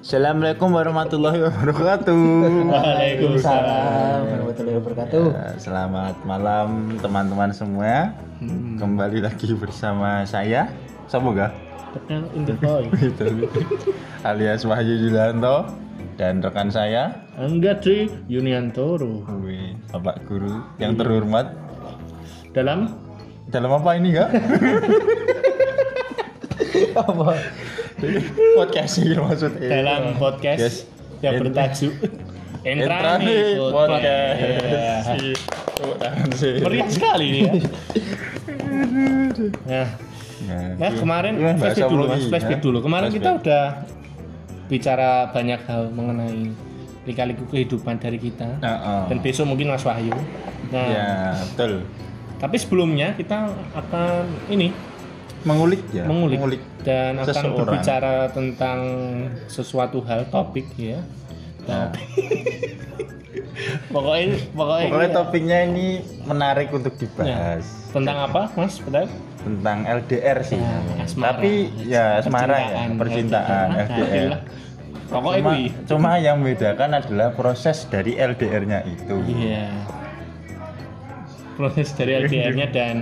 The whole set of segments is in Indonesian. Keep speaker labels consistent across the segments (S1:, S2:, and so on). S1: Assalamualaikum warahmatullahi wabarakatuh.
S2: Waalaikumsalam warahmatullahi wabarakatuh.
S1: Ya, Selamat malam teman-teman semua.
S2: Hmm.
S1: Kembali lagi bersama saya Samoga
S2: Tenang in the boy.
S1: alias Wahyu Julianto dan rekan saya
S2: Angga Tri Yuniantoro.
S1: Wih, Bapak Guru yang terhormat.
S2: Dalam
S1: Dalam apa ini enggak?
S2: apa?
S1: Podcast ini maksudnya.
S2: Dalam podcast yang
S1: Ent-
S2: bertajuk
S1: Entrani
S2: Entrani
S1: Podcast.
S2: Podcast.
S1: Iya. Tepuk tangan sih.
S2: Meriah sekali ini ya. Nah,
S1: Nah,
S2: nah kemarin
S1: gimana bahasa
S2: flashback dulu
S1: apa
S2: mas,
S1: lagi,
S2: flashback
S1: ya?
S2: dulu. Kemarin kita
S1: Flashback.
S2: udah bicara banyak hal mengenai lika-liku kehidupan dari kita.
S1: Nah, oh.
S2: Dan besok mungkin Mas Wahyu. Nah,
S1: Ya, betul.
S2: Tapi sebelumnya kita akan ini
S1: Mengulik ya.
S2: mengulik, dan akan
S1: seseorang.
S2: berbicara tentang sesuatu hal topik ya.
S1: Nah,
S2: Pokoknya pokoknya,
S1: pokoknya
S2: ini- ya.
S1: topiknya ini menarik untuk
S2: Nah,
S1: dibahas
S2: tentang apa Mas? Betul? Nah,
S1: tentang LDR sih. namanya.
S2: Ya. asmara.
S1: Iya. Tapi ya asmara ya, percintaan
S2: Nah,
S1: LDR.
S2: itulah. Pokoknya
S1: Cuma,
S2: ini.
S1: cuma yang membedakan adalah proses dari LDR-nya itu.
S2: Iya. Proses dari
S1: Iya.
S2: LDR-nya dan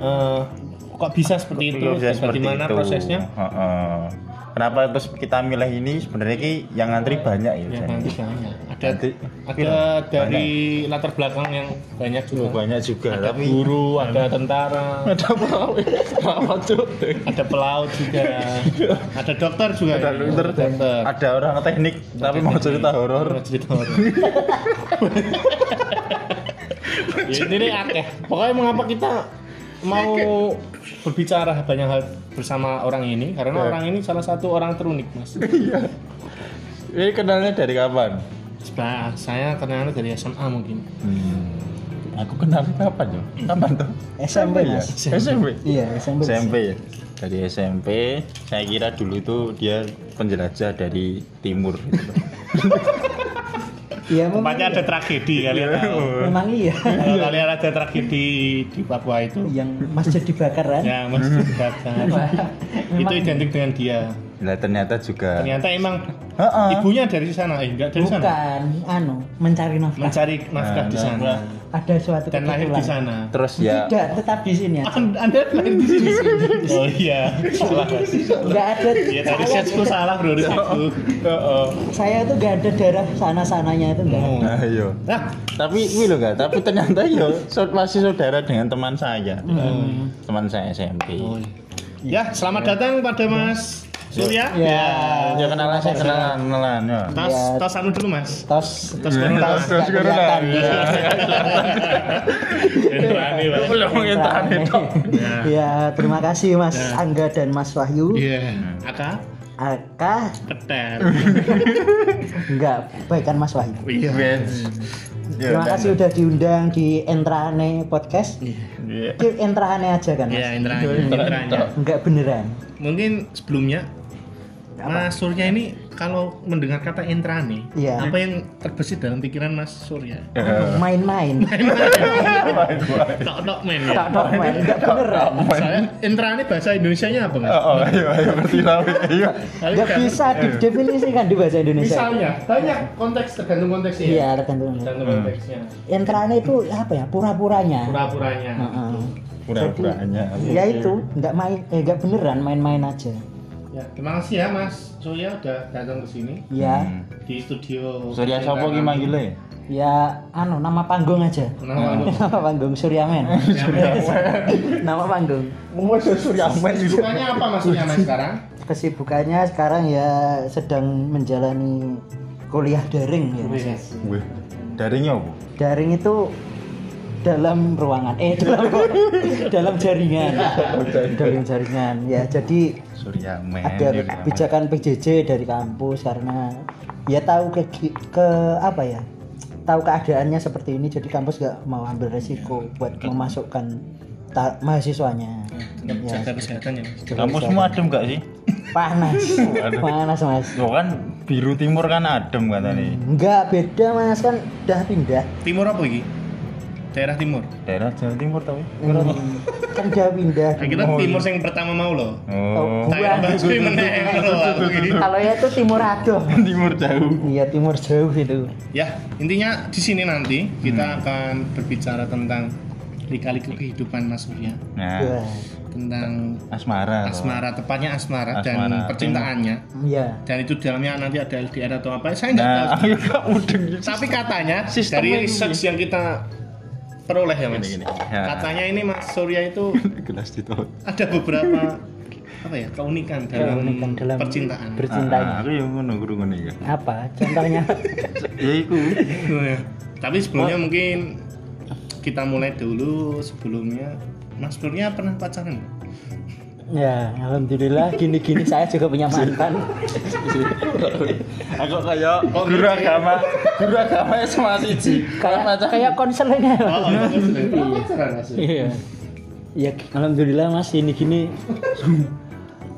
S2: eh, kok bisa seperti itu?
S1: Proses
S2: dan
S1: seperti
S2: bagaimana
S1: itu.
S2: prosesnya?
S1: Heeh. Kenapa terus kita milih ini sebenarnya ki yang ngantri banyak ya.
S2: Ya,
S1: Jan.
S2: nanti banyak. Ada
S1: Nanti-
S2: ada dari latar belakang yang banyak juga.
S1: Oh, banyak juga
S2: ada
S1: tapi
S2: guru, ada tentara,
S1: ada ya? pelaut. Apa tuh?
S2: ada pelaut juga, ada dokter juga.
S1: Ada
S2: ya.
S1: dokter, ada orang teknik tapi mau cerita horor.
S2: Ada cerita horor. ya, ini nih akeh. Pokoknya mengapa kita mau berbicara banyak hal bersama orang ini karena
S1: Ya.
S2: orang ini salah satu orang terunik mas.
S1: Iya. Ini kenalnya dari kapan?
S2: Sebab saya kenalnya dari SMA mungkin.
S1: Hmm. Aku kenal kapan ya? Kapan tuh?
S3: SMP,
S1: ya?
S3: Mas.
S1: SMP.
S3: Iya, SMP.
S1: SMP ya. Dari SMP, saya kira dulu itu dia penjelajah dari timur. gitu.
S3: Iya, memang,
S2: Tempatnya ada tragedi kalian tahu.
S3: memang iya.
S2: Kalau kalian ada tragedi di Papua itu,
S3: Yang masjid dibakar kan?
S2: ya masih dibakar. itu identik dengan dia.
S1: Nah ternyata juga.
S2: Ternyata emang
S1: Heeh.
S2: ibunya dari sana, eh, enggak dari sana.
S3: Bukan, anu, mencari nafkah.
S2: Mencari nafkah
S1: Nah,
S2: di sana
S1: nafkah.
S3: Ada suatu
S2: dan lahir di
S3: kebetulan.
S2: sana. Iya,
S1: Terus ya.
S3: Tidak, tetap di sini aja.
S2: An- Anda lahir di sini. Oh iya, salah.
S3: Enggak ada.
S2: Ya tadi
S3: saya,
S2: setku salah bro, risetku.
S3: saya tuh enggak ada darah sana-sananya itu enggak.
S2: Hmm.
S1: Nah, ayo.
S2: Nah,
S1: Tapi ini loh Kak, tapi ternyata ya saud- masih saudara dengan teman saya.
S3: Hmm.
S1: Teman saya SMP.
S3: Oh, iya.
S2: ya selamat datang pada Mas Surya.
S3: Ya.
S1: Ya kenalan saya kenalan kenalan ya.
S2: Tas,
S3: Ya.
S2: tas anu dulu Mas.
S3: Tos.
S2: Tas corona.
S1: Tas- tas corona,
S3: kelihatan.
S2: Ya,
S1: iya.
S2: Entrani, Mas.
S1: Belum ngentan itu.
S2: Ya.
S3: Ya, terima kasih Mas Angga dan Mas Wahyu.
S2: Iya. Aka
S3: Aka
S2: ketel.
S3: enggak baikan kan, Mas Wahyu.
S2: Iya.
S1: Ya,
S3: Terima
S1: kan.
S3: kasih udah diundang di Entrane Podcast.
S1: Iya.
S3: Di Entrane aja kan, Mas?
S2: Iya, Indranya. Indranya.
S3: Enggak beneran.
S2: Mungkin sebelumnya Mas Surya ini kalau mendengar kata intrani,
S3: Iya.
S2: apa yang terbesit dalam pikiran Mas Surya?
S3: Main-main.
S2: Iya. Tok tok men ya.
S3: Tak normal, enggak beneran.
S2: Saya intrani bahasa Indonesianya apa Mas?
S1: Oh, oh, ayo ayo berarti iya. lawe. Ayo.
S2: Kalian
S3: Enggak
S2: kan-
S3: bisa didefinisikan di bahasa Indonesia.
S2: Misalnya banyak konteks tergantung konteksnya. ya?
S3: Iya, tergantung.
S2: Tergantung
S1: Hmm.
S2: konteksnya.
S3: Entrane itu apa ya? Pura-puranya.
S2: Pura-puranya.
S3: Heeh.
S1: Pura-puranya.
S2: Iya,
S3: Ya itu, enggak main eh enggak beneran main-main aja.
S2: Ya, terima kasih ya Mas Surya udah datang ke sini
S3: Ya,
S2: di studio.
S1: Surya sapa ki manggile?
S3: ya anu nama panggung aja.
S2: Nama lu.
S3: Nama panggung Suryamen. nama panggung.
S1: Wes Surya men
S2: Bukannya apa Mas Surya Mas sekarang?
S3: Kesibukannya sekarang ya sedang menjalani kuliah daring ya. Mas.
S1: Wih. Daringnya apa?
S3: Daring itu dalam ruangan eh dalam dalam jaringan dalam jaringan ya jadi
S1: Surya men. iya.
S3: ada
S1: Surya men.
S3: kebijakan PJJ dari kampus karena ya tahu ke ke apa ya tahu keadaannya seperti ini jadi kampus gak mau ambil resiko buat memasukkan ta- mahasiswanya ya,
S2: Jaga kesehatan ya Mas.
S1: Kampusmu adem gak sih?
S3: panas panas mas
S1: Lo kan biru timur kan adem katanya.
S3: nggak beda mas kan udah pindah
S2: Timur apa iki? daerah timur.
S1: Daerah Jawa Timur ya? tapi.
S3: kan dia pindah
S1: gitu.
S2: Nah, kita timur yang pertama mau loh.
S1: Oh.
S2: Daerah Basri meneng gitu loh. aku ini.
S3: kalau ya itu timur aduh
S1: Timur jauh.
S3: iya timur jauh itu
S2: Ya, intinya di sini nanti
S1: Hmm.
S2: kita akan berbicara tentang lika-liku kehidupan Mas Surya,
S3: ya
S1: Nah,
S2: tentang
S1: asmara. loh.
S2: asmara, tepatnya asmara, dan
S1: Asmara.
S2: percintaannya.
S3: iya
S2: Dan itu di dalamnya nanti ada LDR atau apa? Saya nggak
S1: Nah,
S2: tahu.
S1: aku gak mudeng gitu.
S2: Tapi katanya
S1: Sistemnya
S2: dari
S1: gini.
S2: research yang kita peroleh ya Mas.
S1: Gini, gini. Ya.
S2: Katanya ini Mas Surya itu
S1: Gelas ditolak.
S2: ada beberapa apa ya keunikan dalam,
S3: Keunikan dalam
S2: percintaan.
S3: bercinta
S1: Ah, aku yang ngono guru ngono ya.
S3: apa contohnya
S1: Ya iku.
S2: Iya. Tapi sebelumnya mungkin kita mulai dulu sebelumnya Mas Surya pernah pacaran?
S3: ya alhamdulillah gini-gini saya juga punya mantan
S1: Aku oh, iya. kayak guru agama, guru agama SMA siji.
S3: kayak kayak konseling
S2: Oh, iya, Mas Surya pernah pacaran Mas Surya?
S3: Iya. Ya alhamdulillah Mas ini gini.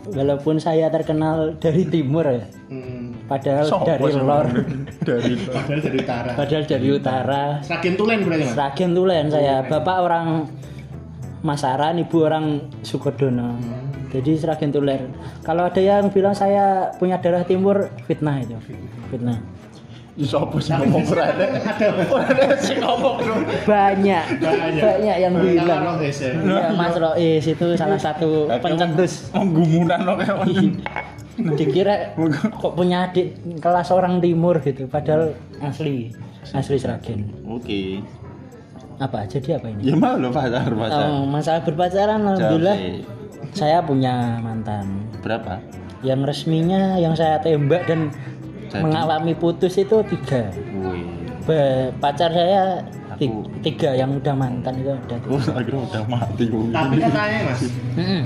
S3: Walaupun saya terkenal dari timur ya,
S2: Hmm,
S3: padahal
S1: Sopo
S3: dari
S1: sih?
S3: lor,
S1: Dari
S2: padahal dari utara.
S3: padahal dari utara.
S2: Seragen tulen berarti Mas.
S3: Sragen Tulen saya. Bapak orang Masaran, ibu orang Sukodono. Jadi Sragen Tulen. Kalau ada yang bilang saya punya darah timur, fitnah itu. Fitnah.
S1: Sopo sih ngomong ora ada. Ora ada sing ngomong bro.
S3: Banyak.
S2: Banyak.
S3: Banyak yang
S2: Banyak
S3: bilang.
S2: orang, guys, ya.
S3: Iya, Mas Rois itu salah satu pencetus.
S1: Wong gumunan lo kayak ngono.
S3: dikira kok punya adik kelas orang timur gitu padahal asli asli Sragen
S1: Oke.
S3: apa jadi apa ini
S1: Ya mau lo pacar pacar.
S3: Oh, masalah berpacaran alhamdulillah
S1: Jauh sih.
S3: saya punya mantan
S1: Berapa?
S3: yang resminya yang saya tembak dan
S1: Jadi?
S3: mengalami putus itu tiga
S1: Wih.
S3: Be- pacar saya ti-
S1: Aku- Oh.
S3: tiga yang udah mantan itu ada
S1: Gue akhirnya udah mati gue.
S2: Tapi
S3: kan
S2: katanya Mas,
S3: Mm-mm.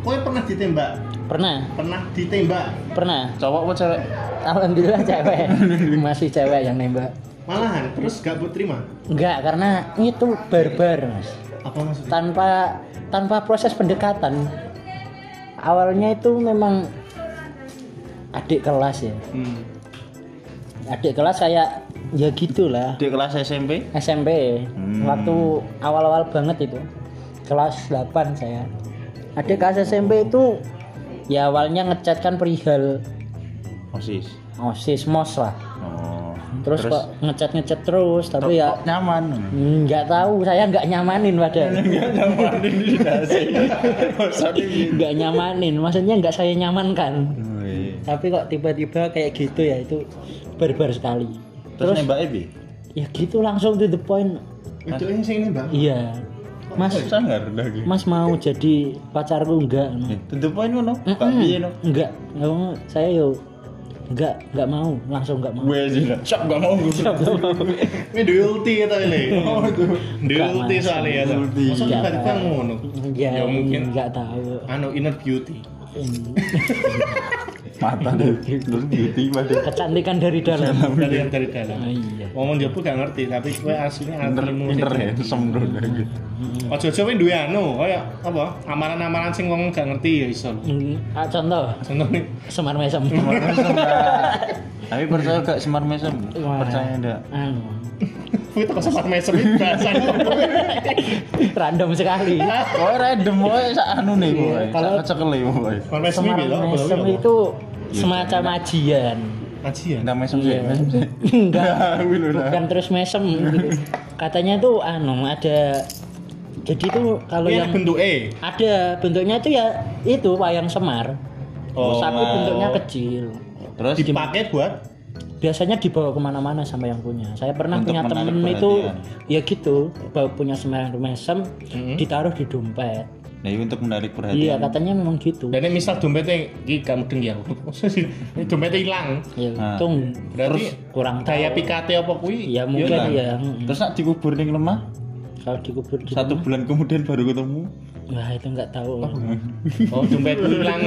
S2: kowe pernah ditembak?
S3: pernah
S2: Pernah ditembak?
S3: pernah
S1: Cowok apa cewek?
S3: alhamdulillah cewek masih cewek yang nembak
S2: Malahan terus gak buat terima?
S3: enggak karena itu barbar mas
S2: Apa maksudnya?
S3: tanpa tanpa proses pendekatan awalnya itu memang adik kelas ya
S2: Hmm.
S3: adik kelas kayak ya gitulah
S1: Di kelas SMP?
S3: SMP
S1: Hmm.
S3: waktu awal-awal banget itu kelas 8 saya adik kelas SMP itu ya awalnya ngechat kan perihal
S1: Osis.
S3: osis mos lah
S1: Oh.
S3: terus, kok ngechat ngechat terus tapi ya
S1: kok nyaman.
S3: nggak tahu saya nggak nyamanin padahal
S1: Nggak nyamanin di dasi.
S3: nggak nyamanin maksudnya nggak saya nyamankan tapi kok tiba-tiba kayak gitu ya itu barbar sekali
S1: Terus
S3: terus,
S1: nembak Ebi?
S3: ya gitu langsung to the point
S2: Itu yang sini bang.
S3: iya mas
S1: Sangar lagi.
S3: mas mau jadi pacarku enggak
S1: Tentu poin ngono,
S3: Mm-mm.
S1: Pak Biye no.
S3: enggak Nggak mau. saya yo enggak enggak mau langsung enggak mau
S1: Gue sih lah. Siap gak mau gue.
S2: Ini duwe ulti ya tadi nih.
S3: Iya.
S2: Oh, duwe
S3: Gak
S2: ulti
S3: masuk.
S2: soalnya ya. Sam.
S1: Ulti.
S2: Masa
S3: Gak
S2: tiba-tiba
S3: masuk.
S2: ngono.
S3: ya,
S2: Ya mungkin
S3: enggak tahu
S2: anu inner beauty.
S1: Mata deh. Terus beauty pada.
S3: kecantikan dari dalam
S2: Dari yang dari dalam.
S3: Ah, iya
S2: Ngomong Jawa gak ngerti, tapi gue aslinya
S1: Pinter,
S2: antrimu.
S1: pinter
S3: ya.
S1: handsome bro gitu. lagi.
S2: Ojo-ojo kowe duwe anu, kayak apa? Amaran-amaran sing wong gak ngerti ya iso.
S3: Mm, ah, contoh
S2: Contohnya
S3: semar mesem
S1: Semar mesem, Mbak. Tapi percaya gak semar mesem?
S3: Wah.
S1: Percaya enggak?
S3: Anu,
S2: kowe teko sama mesem iki bahasane.
S3: random sekali
S1: Kowe random wae sak anu nih kowe.
S3: Iya, kalau-
S1: Sak cekele kowe.
S2: Kon mesem
S3: semar
S2: iki lho, apa
S3: mesem
S1: ya,
S2: lho,
S3: itu Iya, semacam
S1: Iya,
S3: ajian
S2: apa? Aji ya.
S1: Enggak mesem sih, mesem sih.
S3: enggak
S1: Wih, lho, lah.
S3: Iya. bukan terus mesem gitu. katanya tuh anu ada jadi tuh kalau
S2: Ini
S1: Iya,
S3: yang
S2: ada bentuk E.
S3: ada bentuknya itu ya itu wayang semar
S1: Oh,
S3: tapi
S1: wow.
S3: bentuknya kecil
S1: Terus
S2: Dipakai buat
S3: biasanya dibawa kemana-mana sama yang punya saya pernah
S1: Untuk
S3: punya
S1: menarik
S3: temen itu
S1: perhatian. Mm-hmm.
S3: ya gitu bawa punya semar mesem ditaruh di dompet
S1: Nah, ini untuk menarik perhatian.
S3: iya katanya memang gitu
S2: dan ini misal dompetnya iki kamu deng ya. Ini dompetnya hilang.
S3: ya
S1: Nah.
S3: untung
S2: Berarti
S3: kurang tahu
S2: daya pikate apa kuwi?
S3: ya mungkin
S1: Hilang.
S3: ya
S1: Iya, kan? Terus nak dikubur ning lemah,
S3: kalau dikubur di
S1: satu bulan kemudian baru ketemu.
S3: Wah itu nggak tahu.
S2: Oh, dompet gue hilang.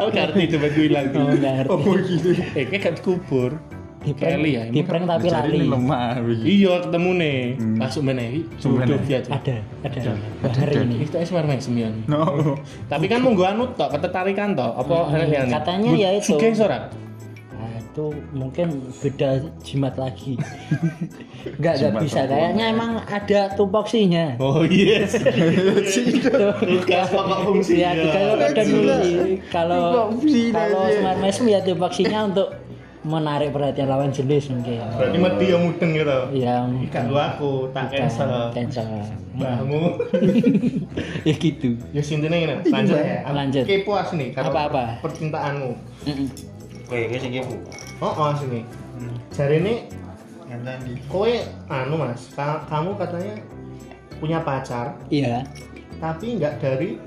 S2: oh, ngerti dompet gue hilang.
S3: Oh, nggak ngerti.
S2: Oh, gitu. Eh, kayak gak dikubur.
S3: Di prank,
S2: Kelly ya, ini
S3: di prank tapi
S1: Jadi
S3: lali.
S1: ini lemah iki.
S2: Iya, ketemu nih. Langsung menehi.
S1: Sumbenehi.
S2: Sudah dia tuh.
S3: Hmm. Ada, ada. Bahar ini.
S2: Itu es warna semian.
S1: No.
S2: Tapi kan monggo anu tok, ketertarikan tok. Apa
S3: Hmm, Katanya ya itu.
S2: Sugih sorak.
S3: Ah, itu mungkin beda jimat lagi nggak nggak
S1: Jimat
S3: bisa
S1: perempuan.
S3: kayaknya emang ada tupoksinya
S2: Oh yes. Tugas pokok fungsinya.
S3: ya kalau ada mili- kalau
S1: Tupoksinya,
S3: kalau
S1: iya.
S3: smart mesum ya tupoksinya untuk menarik perhatian lawan jenis mungkin
S2: Berarti mati yang mudeng gitu.
S3: yang
S2: Ikan Hmm. lu aku tak cancel.
S3: cancel
S2: Mbahmu.
S3: ya gitu
S2: Ya intinya ini. Lanjut. Aku
S3: Lanjut.
S2: Kepo as nih. kalau
S3: Apa-apa?
S2: Percintaanmu.
S3: Mm-mm.
S1: Weh, wis iki Bu.
S2: Oh oh as nih. Jari ini
S1: Ngenteni.
S2: kowe anu mas. ka- kamu katanya punya pacar
S3: iya
S2: tapi nggak dari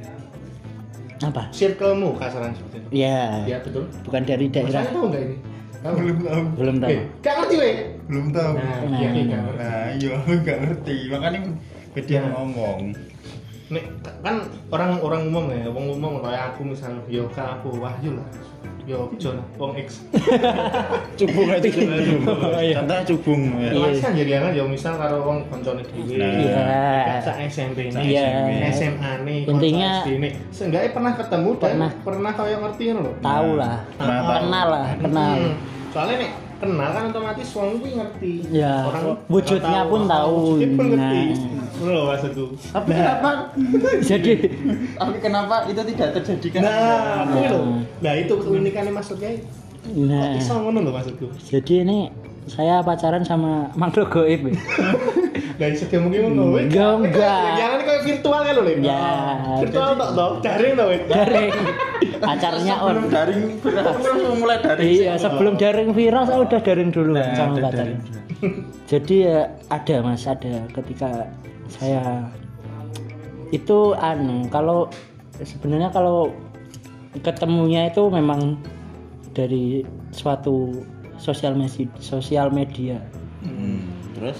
S3: apa
S2: circlemu kasaran seperti itu.
S3: ya
S2: Iya betul.
S3: bukan dari
S2: Mas,
S3: daerah
S2: tahu nggak ini? Tahu.
S1: Belum tahu.
S3: belum tahu
S2: Eh, Gak ngerti weh.
S1: Belum tahu.
S2: Nah,
S3: Nah,
S2: iya, iya,
S3: nah.
S2: gak ngerti.
S1: Nah, iya aku nggak ngerti. Makanya beda
S2: Nah.
S1: ngomong.
S2: Nek kan orang-orang umum ya, wong umum kayak aku misalnya, yo kan aku Wahyu lah. Yo John, wong X.
S1: Cubung aja
S3: Oh, iya.
S1: Contoh cubung ya.
S2: Yo X kan jadi anak yo misal karo wong koncone dhewe.
S1: Nah.
S3: iya
S2: Sak SMP
S1: Sak
S2: nih.
S3: iya
S2: SMA nih,
S3: Intinya-
S2: konco SD nih. Seenggaknya pernah ketemu dan
S3: Pernah.
S2: pernah, kayak ngerti ngono lho.
S3: tahu lah
S1: Nah, tahu.
S3: kenal lah kenal
S2: Hmm. Soalnya nek kenal kan otomatis wong kuwi ngerti.
S3: Ya, wujudnya
S2: orang
S3: pun tahu.
S2: Wujudnya pun ngerti.
S3: Nah.
S2: Ngono lho maksudku.
S1: Tapi kenapa?
S3: jadi
S1: Tapi kenapa itu tidak terjadi kan?
S2: Nah, kuwi lho.
S3: Nah.
S2: Nah, itu keunikannya maksudnya. Kok
S3: nah
S2: iso ngono lho maksudku.
S3: jadi ini saya pacaran sama makhluk goib ya.
S2: Lah iso ge mungkin ngono weh.
S3: Enggak, enggak.
S2: Yang ini kayak virtual kan lho, Lin.
S3: Ya,
S2: Virtual tok toh, daring toh weh.
S3: daring pacarnya on
S1: Sebelum daring terus mulai daring.
S3: iya sebelum daring viral saya udah daring dulu
S1: Nah,
S3: sama
S1: udah
S3: pacar
S1: daring.
S3: jadi ya ada mas ada ketika saya itu anu kalau sebenarnya kalau ketemunya itu memang dari suatu sosial media sosial media
S1: Hmm, Terus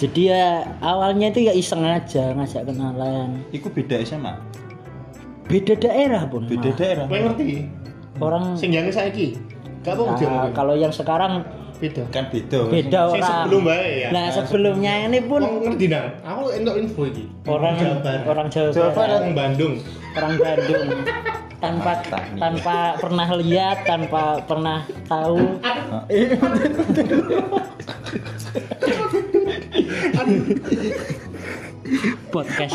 S3: jadi ya awalnya itu ya iseng aja ngajak kenalan
S1: Iku beda SMA.
S3: Hmm. beda daerah pun
S1: Beda
S3: malah.
S1: daerah.
S2: Kowe ngerti?
S3: orang
S2: Hmm. Sing jane saiki. Gak apa-apa dia
S3: Ah,
S2: mungkin.
S3: kalau yang sekarang
S2: Beda.
S1: Kan beda.
S3: beda
S2: Sing
S3: orang
S2: sebelum bae ya.
S3: nah sebelumnya ini pun
S2: Wong ngerti nang. Aku entuk info iki.
S3: orang
S2: Jawa Barat.
S3: orang Jawa
S1: Jawa
S3: Barat,
S2: orang Bandung.
S3: orang Bandung tanpa
S1: Mantap nih.
S3: tanpa pernah lihat tanpa pernah tahu podcast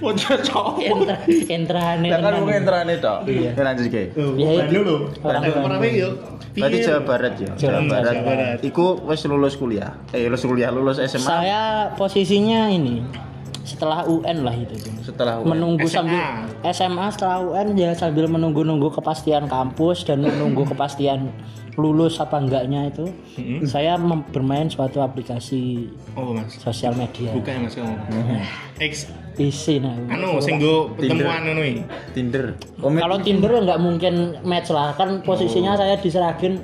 S1: Bocah cowok.
S3: entra entrane
S1: Lah kan
S3: tenan.
S1: mungkin enterane tok.
S3: Iya.
S1: Ya lanjut ke.
S2: Tuh,
S3: Ya, itu.
S2: Bandung lho.
S3: Orang
S2: Ayo,
S3: Bandung.
S2: Orang Bandung yo.
S1: Berarti Jawa Barat ya.
S3: Jawa
S1: Jawa
S3: Barat.
S1: Barat. Iku wis lulus kuliah. Eh lulus kuliah, lulus SMA
S3: saya posisinya ini setelah UN lah itu Jung.
S1: setelah UN.
S3: menunggu
S2: SMA.
S3: sambil SMA setelah UN ya sambil menunggu-nunggu kepastian kampus dan menunggu kepastian lulus apa enggaknya itu saya mem- bermain suatu aplikasi
S2: Oh, Mas.
S3: sosial media
S2: Buka ya, Mas kamu.
S3: Nah.
S1: Mhm.
S2: X
S3: isi nah
S2: anu sing go pertemuan anu iki.
S1: Tinder.
S3: kalau Tinder ya nggak mungkin match lah kan posisinya saya di Seragen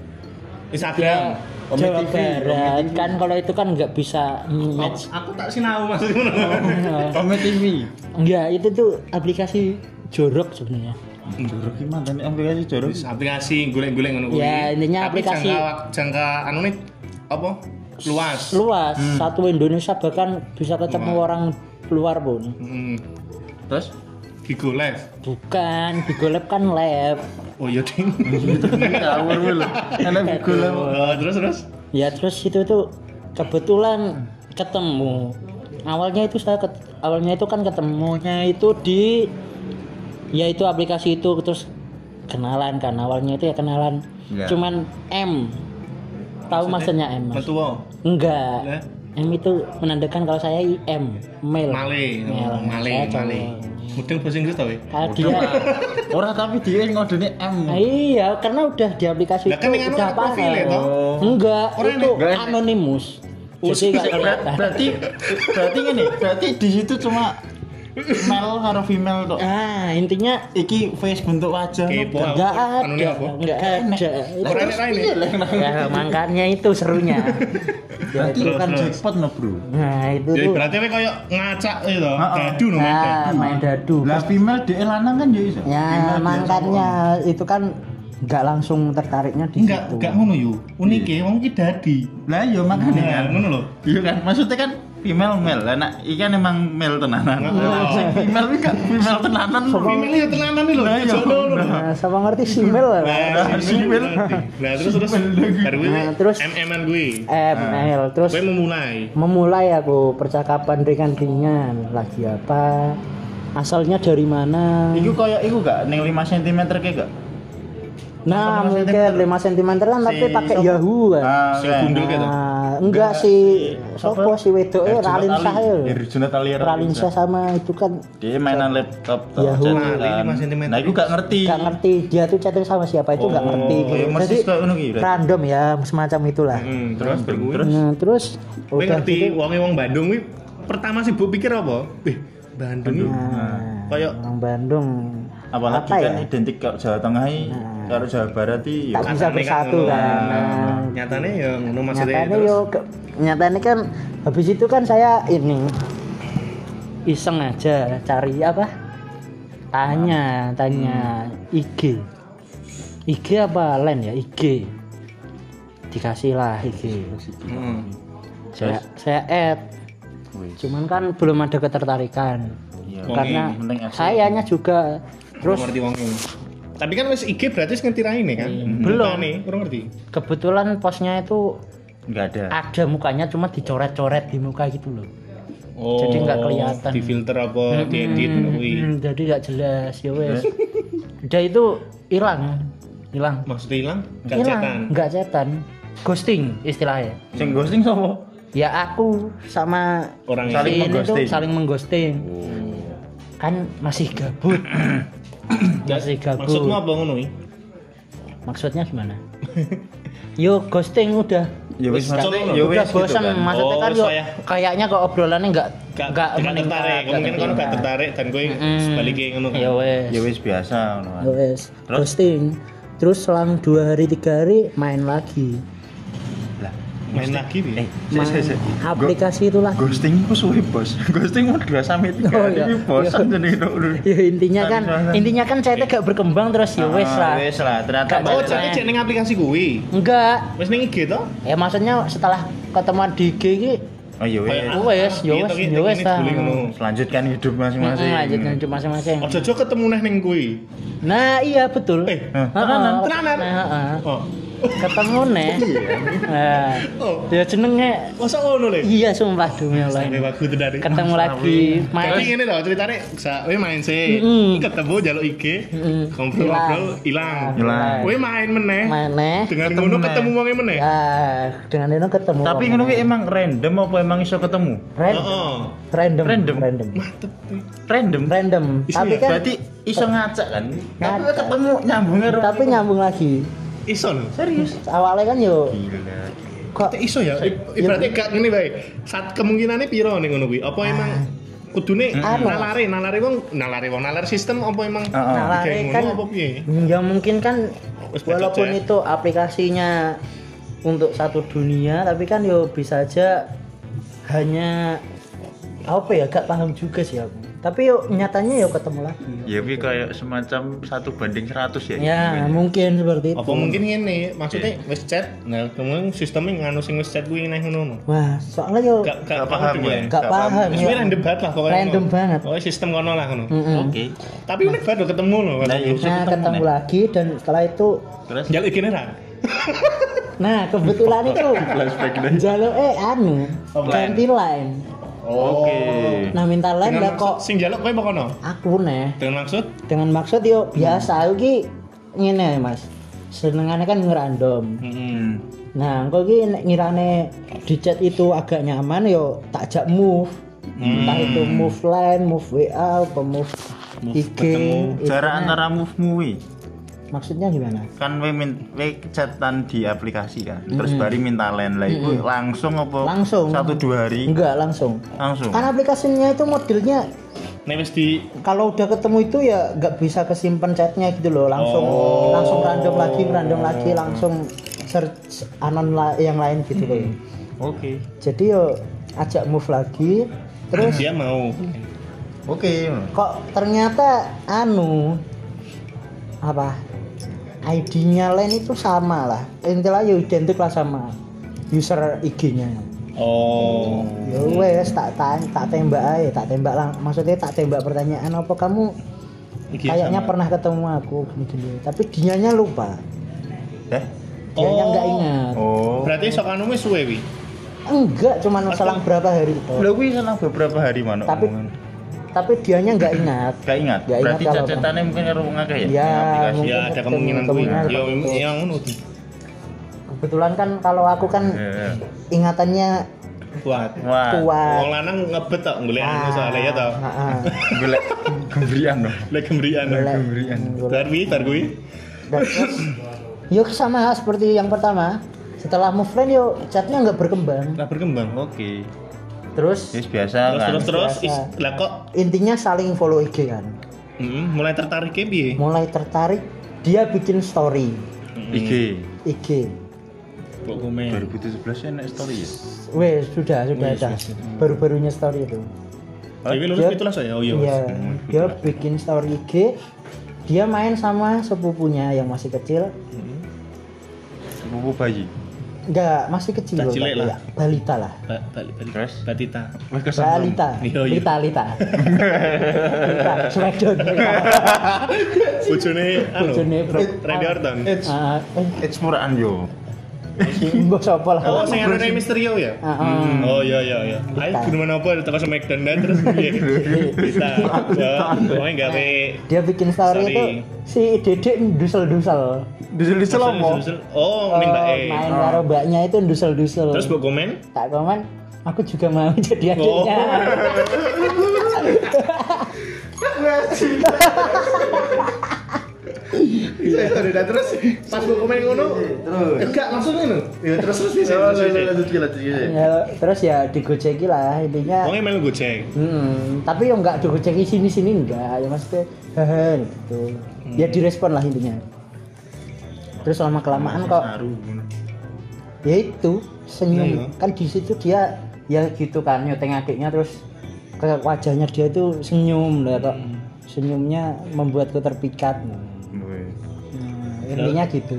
S2: Instagram.
S1: Omni
S3: Jawa
S1: TV,
S3: Barat kan kalau itu kan nggak bisa match
S2: Aku tak sinau Mas. ngono.
S1: Ome TV.
S3: enggak Ya, itu tuh aplikasi jorok sebenarnya
S1: Jorok iki mantan aplikasi jorok.
S2: Terus aplikasi golek-golek ngono kuwi.
S3: Ya, intinya
S2: Tapi
S3: aplikasi-
S2: jangka jangka anu nih apa? Luas.
S3: luas satu Indonesia bahkan bisa ketemu
S2: Luas.
S3: orang luar pun
S2: Hmm.
S1: Terus
S2: Gigo Live.
S3: bukan Bigo Lab kan lab
S2: Oh iya ding.
S1: ngawur lho. Ana
S3: Aduh.
S2: Oh, terus terus.
S3: ya terus itu tuh kebetulan ketemu awalnya itu saya ket- awalnya itu kan ketemunya itu di yaitu aplikasi itu terus kenalan kan awalnya itu ya kenalan
S1: Iya.
S3: cuman M tahu maksudnya M mas?
S2: Metuwo.
S3: enggak
S2: Lah.
S3: M itu menandakan kalau saya IM male
S2: Male,
S3: Male.
S2: oh, male,
S3: Saya cowok.
S2: male. Mudeng bahasa Inggris tau eh? ya?
S3: Ah, dia
S1: Ora tapi dia ngodone M.
S3: Nah, iya, karena udah di aplikasi
S2: Lah, kan yang anu
S3: udah
S2: ada profilnya,
S3: paham.
S2: toh?
S3: Enggak,
S2: Orang
S3: itu
S1: yang- enggak.
S3: anonimus. Jadi nggak kelihatan.
S1: berarti berarti ini berarti di situ cuma male karo female tok.
S3: Ah, intinya
S1: Iki face bentuk wajah.
S2: Kepo. Wah,
S3: enggak
S2: anu ini
S3: ada,
S2: apa?
S3: enggak ada.
S1: Lah,
S2: Orang
S1: terus
S2: lain
S1: piye
S2: ini?
S1: lah, nah?
S3: Ya, makanya itu serunya.
S1: Berarti
S2: Terus,
S1: bukan
S2: terus.
S1: jackpot no, Bro.
S3: Nah, itu
S2: Jadi
S3: tuh.
S2: berarti kowe koyo ngacak gitu,
S1: Heeh.
S2: dadu no main
S3: Nah,
S2: dadu.
S3: main dadu.
S1: Lah female dia lanang kan ya iso.
S3: Ya,
S1: Female dia
S3: makanya itu kan enggak langsung tertariknya di
S2: Enggak,
S3: situ.
S2: enggak ngono yo. Unike wong iki dadi.
S1: cowok. Lah ya makanya
S2: Nah,
S1: kan.
S2: ngono lho.
S1: Iya kan, maksudnya kan female male lah nak ikan emang male tenanan
S2: Oh.
S1: Sing female ini gak female tenanan
S2: Female ya tenanan nih loh.
S1: Nah, iya.
S2: Jodoh loh.
S1: Nah.
S3: Nah, sama ngerti simil lah.
S2: Nah,
S1: Female.
S2: Nah, terus terus
S1: Female lagi.
S2: baru gue
S3: Nah, terus-
S2: MM-an gue.
S3: M, L, terus
S2: Gue memulai.
S3: memulai aku percakapan ringan-ringan lagi apa asalnya dari mana
S1: Iku koyo iku gak ning 5 cm kayak gak?
S3: nah
S1: Sama
S3: mungkin 5 cm kan tapi
S1: Si-
S3: pakai
S1: sopo?
S3: Yahoo kan
S1: Ah,
S2: Si
S1: kan.
S2: gundul gitu.
S3: Nah, enggak
S1: Enggak,
S3: sih
S1: si-
S3: sopo
S1: apa?
S3: si wedoke
S1: Herjunot
S3: Ralin
S1: Ali.
S3: eh, Shah ya.
S1: Herjunot Ali Iya,
S3: Ralin
S1: Shah. Iya.
S3: Shah Ya, sama itu kan
S1: Dia mainan laptop toh,
S3: Yahoo.
S1: chatan.
S2: Nah, lima sentimeter.
S1: Nah, iku gak ngerti.
S3: nggak ngerti dia tuh chatting sama siapa itu nggak
S1: Oh,
S3: ngerti gitu.
S1: iya, masih
S3: jadi
S1: suka ngono ki, berarti.
S3: random ya semacam itulah
S2: Hmm, terus baru gue.
S1: Terus?
S3: Nah, terus
S2: Gue
S3: udah
S2: ngerti
S3: gitu,
S2: wonge wong Bandung gue pertama sih gue pikir apa? Wih, Bandung ini
S3: nah,
S2: Kayak-
S3: orang Bandung
S1: Apalagi
S3: apa
S1: kan
S3: ya
S1: identik kalau Jawa Tengah iki,
S3: Nah.
S1: kalau Jawa Barat iki ya. yo.
S3: tak bisa
S2: Katanya
S3: bersatu
S2: kan,
S3: kan
S1: nah,
S3: Nah,
S2: nyatanya ya ngono maksudnya
S3: nyatanya
S2: terus.
S3: yo ke- nyatanya kan habis itu kan saya ini iseng aja cari apa
S2: Ah.
S3: tanya tanya
S2: Hmm.
S3: IG IG apa lain ya IG dikasih lah IG
S2: Heeh.
S3: saya saya add
S1: Wih,
S3: cuman kan belum ada ketertarikan
S1: iya.
S2: Wonge,
S3: karena
S1: penting action.
S3: sayanya juga
S2: Terus
S3: terus
S2: ngerti wong ini. Tapi kan wis IG berarti wis ngerti raine kan?
S3: Iya. Belum.
S2: nih, kurang ngerti.
S3: kebetulan posnya itu
S1: Enggak
S2: Nah.
S1: ada.
S2: Ah.
S3: ada mukanya cuma dicoret-coret di muka gitu loh
S2: Oh,
S3: Jadi nggak kelihatan.
S2: Di filter apa di edit kuwi.
S3: Hmm, jadi nggak jelas ya wes udah itu hilang hilang
S2: Maksudnya hilang? Gak cetan.
S3: hilang nggak cetan ghosting istilahnya
S1: Sing ghosting sapa?
S3: ya aku sama
S2: Orang
S1: Saling
S3: si ini tuh
S1: mengghosting.
S3: saling mengghosting
S2: Oh.
S3: kan masih gabut masih gabut
S2: Maksudmu apa ngono iki?
S3: maksudnya gimana yo ghosting udah
S1: Ya wis
S2: Wis,
S1: maksudnya
S2: cocok
S1: ya
S2: loh.
S1: wis
S3: udah
S1: gitu
S3: bosan
S1: kan.
S3: maksudnya
S2: Oh,
S3: kan yo
S2: saya-
S3: kayaknya kok obrolannya nggak
S2: Gak
S3: nggak
S2: gak
S3: meningkat,
S2: tertarik,
S3: nggak
S2: mungkin kan gak
S3: tertarik.
S2: tertarik dan gue
S3: Mm.
S2: sebaliknya ngono kan.
S3: ya wes
S1: Ya wis biasa ngono kan.
S2: Iya,
S3: Ya wes
S1: Terus?
S3: ghosting terus selang dua hari tiga hari main lagi
S1: Lah,
S2: Main lagi
S1: eh,
S2: nih.
S3: main
S1: sik, sik, sik.
S2: iya.
S1: Go-
S3: aplikasi itu lagi
S1: ghosting ku suwe bos ghosting mau dua sampai tiga
S3: Oh,
S1: hari
S3: iya.
S1: ini bosan jadi itu
S3: ya intinya kan
S1: Saran-saran.
S3: intinya kan chatnya gak berkembang terus ya
S2: Ah,
S3: wes lah
S1: Ah, wes lah ternyata
S3: Gak
S2: Oh,
S3: balik
S2: jadi
S3: main.
S2: cek ning aplikasi kuwi.
S3: enggak
S2: Wis ning IG to?
S3: ya maksudnya setelah ketemuan di IG ini
S1: oh iya wes
S2: Kayak,
S3: Wes,
S2: ah,
S3: ya
S2: iya,
S3: wes,
S2: tapi
S3: ya wes
S2: ini dulu
S3: lah.
S2: ngono.
S1: lanjutkan hidup masing-masing
S3: lanjutkan cuma masing-masing
S2: Ojo ojo ketemu neh ning kuwi.
S3: nah iya betul
S2: Eh,
S3: Heeh,
S2: tenanan, tenanan.
S3: nah, heeh.
S2: Oh.
S3: ketemu nih nah,
S2: Oh.
S3: ya jenenge
S2: Masa ngono le?
S3: iya sumpah demi Allah
S2: Sampai waktu itu dari.
S3: ketemu lagi
S2: Tapi
S3: main
S2: gini loh ceritanya, gue main sih,
S3: Mm-mm.
S2: ketemu jaluk IG,
S3: Mm-mm.
S2: ngobrol-ngobrol, hilang.
S1: Hilang.
S2: Gue main meneh,
S3: main nih
S2: dengan ngono
S1: meneh.
S2: ketemu wongnya meneh.
S3: ya dengan Nino ketemu
S1: Hmm. tapi
S3: Romo.
S1: ngono kuwi emang random apa emang iso ketemu
S3: Ren-
S2: Oh,
S3: random
S1: Random.
S3: random
S2: mantep. nih.
S1: random
S3: random
S2: Isinya
S3: tapi kan
S1: berarti iso ngacak kan tapi
S3: Ngacak.
S1: ketemu nyambung karo
S3: tapi nyambung lagi
S2: Iso loh.
S1: serius
S3: awalnya kan yo
S1: gila
S3: kok
S2: Teh iso ya. I- i-
S3: Iya.
S2: Berarti gak ngene bae. Saat kemungkinannya piro nih ngono kuwi? Apa emang kudune
S3: Ah. Anu.
S2: nalare, nalare wong, nalare wong, nalare sistem apa emang?
S1: Ah, ah.
S2: Digawe
S3: Nah, lari
S2: ngono
S3: kan
S2: apa piye?
S3: ya mungkin kan
S2: Wes becek
S3: walaupun
S2: ya.
S3: itu aplikasinya untuk satu dunia tapi kan yo bisa aja hanya apa ya gak paham juga sih aku tapi yo nyatanya yo ketemu lagi
S1: ya kuwi kayak semacam satu banding 100 ya
S3: ya mungkin seperti itu
S2: Iya. Apa mungkin ngene? Maksudnya
S1: Iya.
S2: wis chat, nah kemudian sistemnya nganu sing wis chat kuwi neh ngono. no.
S3: wah soalnya yo
S2: Gak
S1: Gak paham ya?
S3: gak
S1: gak
S3: paham
S2: Wis
S3: yo.
S2: kuwi random banget lah pokoknya.
S3: Iya. Random
S2: ngono.
S3: banget. Hmm.
S2: Pokoknya sistem kono lah ngono.
S3: Mm-mm.
S1: oke
S2: Tapi unik banget loh ketemu loh.
S1: Nah, iya. Terus
S3: Nah,
S1: ketemu
S3: ketemu
S1: nih.
S3: lagi dan setelah itu
S1: terus
S2: Jaluk gini lah.
S3: nah kebetulan itu
S1: flashback lagi
S3: jalo eh anu
S2: Oh,
S3: ganti line.
S1: oke
S3: Nah, minta line
S2: Dengan
S3: lah
S2: maksud-
S3: kok
S2: Sing jaluk kowe apa kono?
S3: aku nih
S2: Dengan maksud
S3: dengan maksud yo biasa aku ki ngene Mas. Senengane kan ngerandom.
S1: hmm
S3: Nah, engko ki nek ngirane di chat itu agak nyaman yo tak jak move. Entah itu move line, move WA, apa move,
S2: Move
S3: IG.
S2: ketemu.
S3: itu
S1: jarak
S3: kan.
S1: antara move movie
S3: Maksudnya gimana?
S1: kan we, min, we chatan di aplikasi kan terus bari minta line lah iku langsung apa Oh,
S3: Langsung.
S1: satu dua hari
S3: Enggak langsung.
S1: langsung
S3: Kan aplikasinya itu modelnya
S2: nek wis di
S3: kalau udah ketemu itu ya nggak bisa kesimpan chatnya gitu loh langsung langsung random lagi random lagi langsung search anon la- yang lain gitu loh
S1: oke
S3: jadi yo ajak move lagi terus Hmm.
S2: dia mau.
S1: oke
S3: kok ternyata anu apa ID-nya lain itu sama lah intinya ya identik lah sama user IG-nya
S2: Oh.
S3: Ya wes tak tanya, tak tembak aja, tak tembak lang. Maksudnya tak tembak pertanyaan apa kamu
S2: Iki ya,
S3: kayaknya
S2: Iya, sama-
S3: pernah ketemu aku gini-gini. Tapi dianya lupa.
S1: Eh?
S3: Dianya
S2: Oh.
S3: nggak ingat.
S1: Oh.
S2: Berarti sok anu wis suwe wi.
S3: Enggak, cuman selang berapa hari itu.
S1: Lho kuwi selang beberapa hari manuk.
S3: Tapi-
S1: omongan.
S3: Tapi dianya nggak ingat.
S1: Gak ingat.
S3: Gak ingat
S1: Berarti
S3: kalau-
S1: cacetannya mungkin karo wong akeh ya.
S3: Ya,
S1: Yang aplikasi.
S3: mungkin.
S2: Ya ada kemungkinan kuwi.
S3: Kemungkinan
S2: Ya
S3: betul.
S2: ya ngono Di.
S3: Kebetulan kan kalau aku kan
S1: Iya, iya.
S3: ingatannya
S2: Wah.
S1: Wah.
S2: Wong
S3: kuat.
S2: lanang ngebet tok golek anu
S3: Ah,
S2: soalnya ya tok.
S3: ah, ah.
S1: Golek gembrian loh.
S2: Lek gembrian.
S3: Golek.
S1: Gembrian.
S3: Golek.
S2: Bar wi, bar kuwi.
S3: Dan terus, yuk sama seperti yang pertama. Setelah move line yuk chatnya nggak berkembang.
S2: Lah berkembang.
S1: Oke.
S3: Terus
S1: Terus biasa
S2: Terus
S1: kan.
S2: terus terus
S3: Biasa.
S2: is- lah kok
S3: intinya saling follow IG kan.
S2: mm, mulai tertarik piye?
S3: Mulai tertarik dia bikin story
S1: IG
S3: IG.
S2: Kok komen.
S1: 2017 ya naik story ya.
S3: Wes sudah sudah
S2: Wes,
S3: ada.
S2: wes, wes.
S3: Baru-barunya story itu.
S2: Dewi lulus
S3: Dia-
S2: pitulas ya? Oh iya.
S3: Iya.
S1: Hmm,
S3: Dia
S1: sudah.
S3: bikin story IG. Dia main sama sepupunya yang masih kecil.
S1: Sepupu bayi.
S3: Enggak, masih kecil.
S2: Tak
S3: loh,
S2: cilik
S3: Pak.
S2: lah.
S3: Balita lah.
S2: Ba- Balik balik.
S1: Terus?
S2: Batita.
S1: Wah kesempatan.
S3: Balita.
S2: Iya, iya.
S3: Lita, Lita. Lita, Smackdown.
S2: Bojone anu.
S3: Bojone Bro-
S2: Randy Orton.
S1: It's
S3: Ah, eh,
S1: it's muraan yo.
S3: mbok sapa lah.
S2: Oh, sing anu Rey Mysterio ya?
S3: Ah,
S2: Hmm, Oh iya iya iya. Ayo
S3: Kita.
S2: gimana apa teko sama McDonald terus piye? Kita. Ya, Pokoknya gawe
S3: Dia bikin story,
S2: Story.
S3: itu si Dedek dusel-dusel.
S1: Dusel-dusel apa?
S2: Dusel-dusel. Oh, ning mbake.
S3: Oh, main karo mbaknya itu dusel-dusel.
S2: Terus mbok komen?
S3: tak komen, aku juga mau jadi
S2: Oh.
S3: adiknya. Iya,
S4: Saya udah udah, terus pas gue komen ngono
S1: Terus.
S4: enggak langsung ngono.
S1: Iya,
S4: Ya terus terus bisa.
S1: Lanjut, lanjut, lanjut, lanjut.
S3: Ya, terus ya digojeki lah intinya.
S2: Wonge melu gojek.
S3: Hmm, tapi ya nggak digojeki sini-sini enggak, ya maksudnya hehe gitu.
S2: Hmm.
S3: Ya direspon lah intinya. Terus lama
S2: Hmm,
S3: kelamaan kok
S1: Saru.
S3: ya itu
S2: Iya.
S3: senyum kan di situ dia ya gitu kan nyoteng adiknya terus ke wajahnya dia itu senyum lah kok
S2: Hmm.
S3: senyumnya membuatku terpikat
S1: Weh.
S3: Hmm, intinya gitu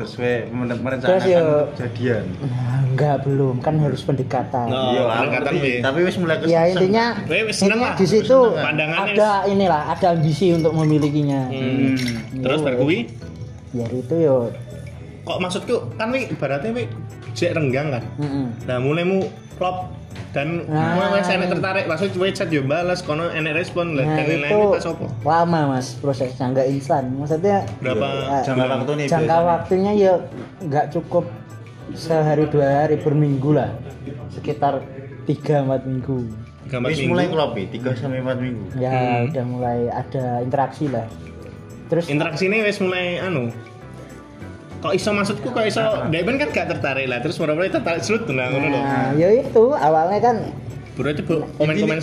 S1: Terus we men-
S3: Terus yo.
S1: merencanakan kejadian.
S3: nah, enggak belum kan harus pendekatan
S2: No.
S1: aku
S2: Oh, pendekatan
S1: ngerti.
S2: ya.
S1: Iya, Tapi wis mulai
S3: ya
S1: kesuksesan.
S3: intinya
S2: Weh, wis seneng
S3: intinya
S2: lah.
S3: di situ
S1: Wis seneng
S2: lah. Pandangannya
S3: ada inilah ada ambisi untuk memilikinya
S2: Hmm. Terus
S3: Iya,
S2: bar
S3: weh.
S2: kuwi
S3: ya itu yo
S2: kok maksudku kan wi ibaratnya wi jek renggang kan.
S3: Mm-mm.
S2: Nah, mulaimu klop dan
S3: Nah.
S2: nah. wes enek tertarik maksudnya cuy chat yo balas kono enek respon lah
S3: nah
S2: dan lain-lain
S3: itu
S2: itu pas opo?
S3: lama mas prosesnya nggak instan maksudnya
S2: Berapa
S3: Ya.
S1: jangka waktu nih
S3: jangka
S1: biasanya?
S3: waktunya ya nggak cukup sehari dua hari berminggu lah sekitar tiga empat minggu
S2: gambar
S1: Wis mulai
S2: minggu.
S1: ngelopi 3 sampai 4 minggu.
S3: ya
S2: Hmm.
S3: udah mulai ada interaksi lah terus
S2: interaksi ini wes mulai anu kok iso maksudku kok iso
S1: Nah.
S2: Deben kan gak tertarik lah terus mulai tertarik slut nah ngono lho
S3: nah ya itu awalnya kan
S2: bro itu bu komen-komen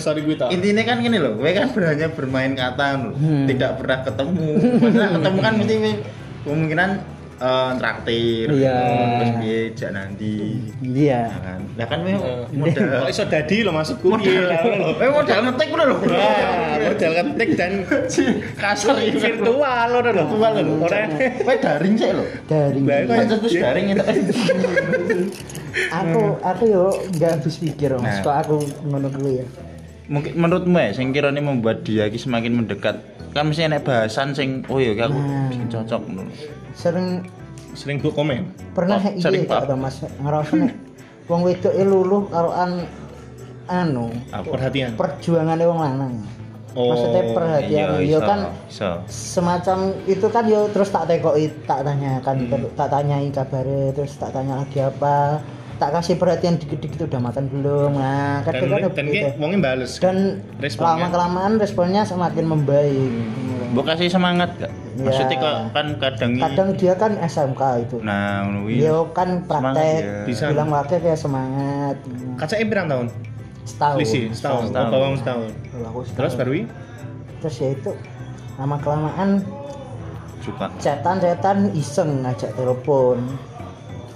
S1: Intinya-
S2: story gue tau
S1: Intinya kan gini loh, gue kan hanya bermain kata loh,
S3: Hmm.
S1: tidak pernah ketemu. Maksudnya ketemu kan mesti we- kemungkinan eh, traktir,
S3: Iya.
S1: terus piye jak nanti.
S3: iya
S1: Nah kan, nah kan we
S2: Eh, kok
S1: modal.
S2: iso dadi lho maksudku piye lah ngono lho
S1: We modal Eh, ngetik ngono lho.
S2: Wah, model ketik dan
S1: Kasar iki
S2: virtual ngono lho virtual lho ora
S1: We daring sih loh.
S3: dari
S2: Lah, kok-
S1: Terus terus daring itu.
S3: aku
S2: Hmm.
S3: aku yo nggak habis pikir mas
S1: Nah.
S3: kok aku ngono dulu ya
S1: Mungkin menurutmu ya, sing kira ini membuat dia iki semakin mendekat. Kan mesti enak bahasan sing, oh iya aku
S3: Hmm.
S1: sing cocok ngono.
S3: sering
S2: sering bu komen
S3: pernah
S1: Pap,
S3: iki
S1: sering pap.
S3: gak ada mas ngerasa nek wong wedok e luluh karo an anu
S1: Apa?
S2: perhatian
S3: perjuangannya wong lanang
S2: Oh, iya,
S3: maksudnya
S1: iya,
S3: perhatian yo
S1: iso,
S3: kan
S1: iso.
S3: semacam itu kan yo terus tak tekoki tak tanyakan
S2: Hmm.
S3: tak tanyai kabare terus tak tanya lagi apa tak kasih perhatian dikit-dikit udah makan belum nah
S2: dan
S3: kadang-kadang
S2: dan
S3: begitu.
S2: ki wonge bales
S3: dan
S2: responnya. Hmm.
S3: lama kelamaan responnya semakin membaik
S1: Mbok kasih semangat gak?
S3: Ya.
S1: Maksudnya kok kan kadang
S3: kadang dia kan SMK itu
S1: nah ngono kuwi.
S3: dia kan praktek
S1: Semangat ya.
S2: Bisa.
S3: bilang wakil kayak semangat gitu.
S2: kacake pirang tahun
S3: setahun
S2: selisih setahun oh
S1: Setahun.
S2: bawang setahun
S3: Kalau aku
S2: terus
S3: setahun.
S2: baru wi
S3: terus ya itu lama kelamaan
S1: suka.
S3: cetan-cetan iseng ngajak telepon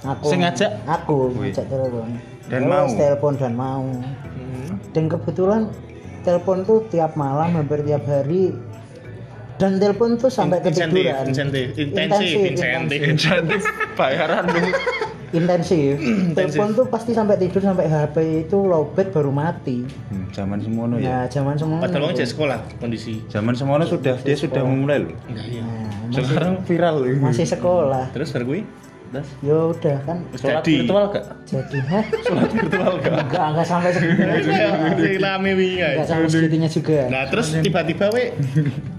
S3: aku
S1: Sing ngajak?
S3: aku
S1: Wih.
S3: ngajak telepon
S1: Dan
S3: Terus
S1: mau?
S3: telepon dan mau
S2: Hmm.
S3: dan kebetulan telepon tuh tiap malam hampir tiap hari dan telepon tuh sampai
S2: In- insentif,
S3: ketiduran
S2: insentif, intensif,
S3: Intensif,
S2: insentif.
S3: intensif.
S1: Cantik bayaran lu.
S3: intensif. Telepon tuh pasti sampai tidur sampai HP itu lowbat baru mati.
S1: Hmm, zaman semono ya.
S3: Nah, zaman
S2: Oh,
S3: semua.
S2: iya. Padahal orang jadi sekolah kondisi.
S1: Zaman semono sudah dia sudah memulai loh.
S2: Enggak iya.
S1: Sekarang viral loh.
S3: Nah, masih sekolah.
S2: Terus baru gue?
S1: Terus
S3: Ya udah kan
S1: sholat
S2: Jadi.
S1: virtual gak?
S3: jadi hah?
S1: Sholat virtual gak?
S3: Enggak, enggak sampai
S2: Iya,
S3: segitunya.
S2: Masih rame wingi guys.
S3: Enggak sampai segitunya juga.
S2: Iya, Nah terus tiba-tiba we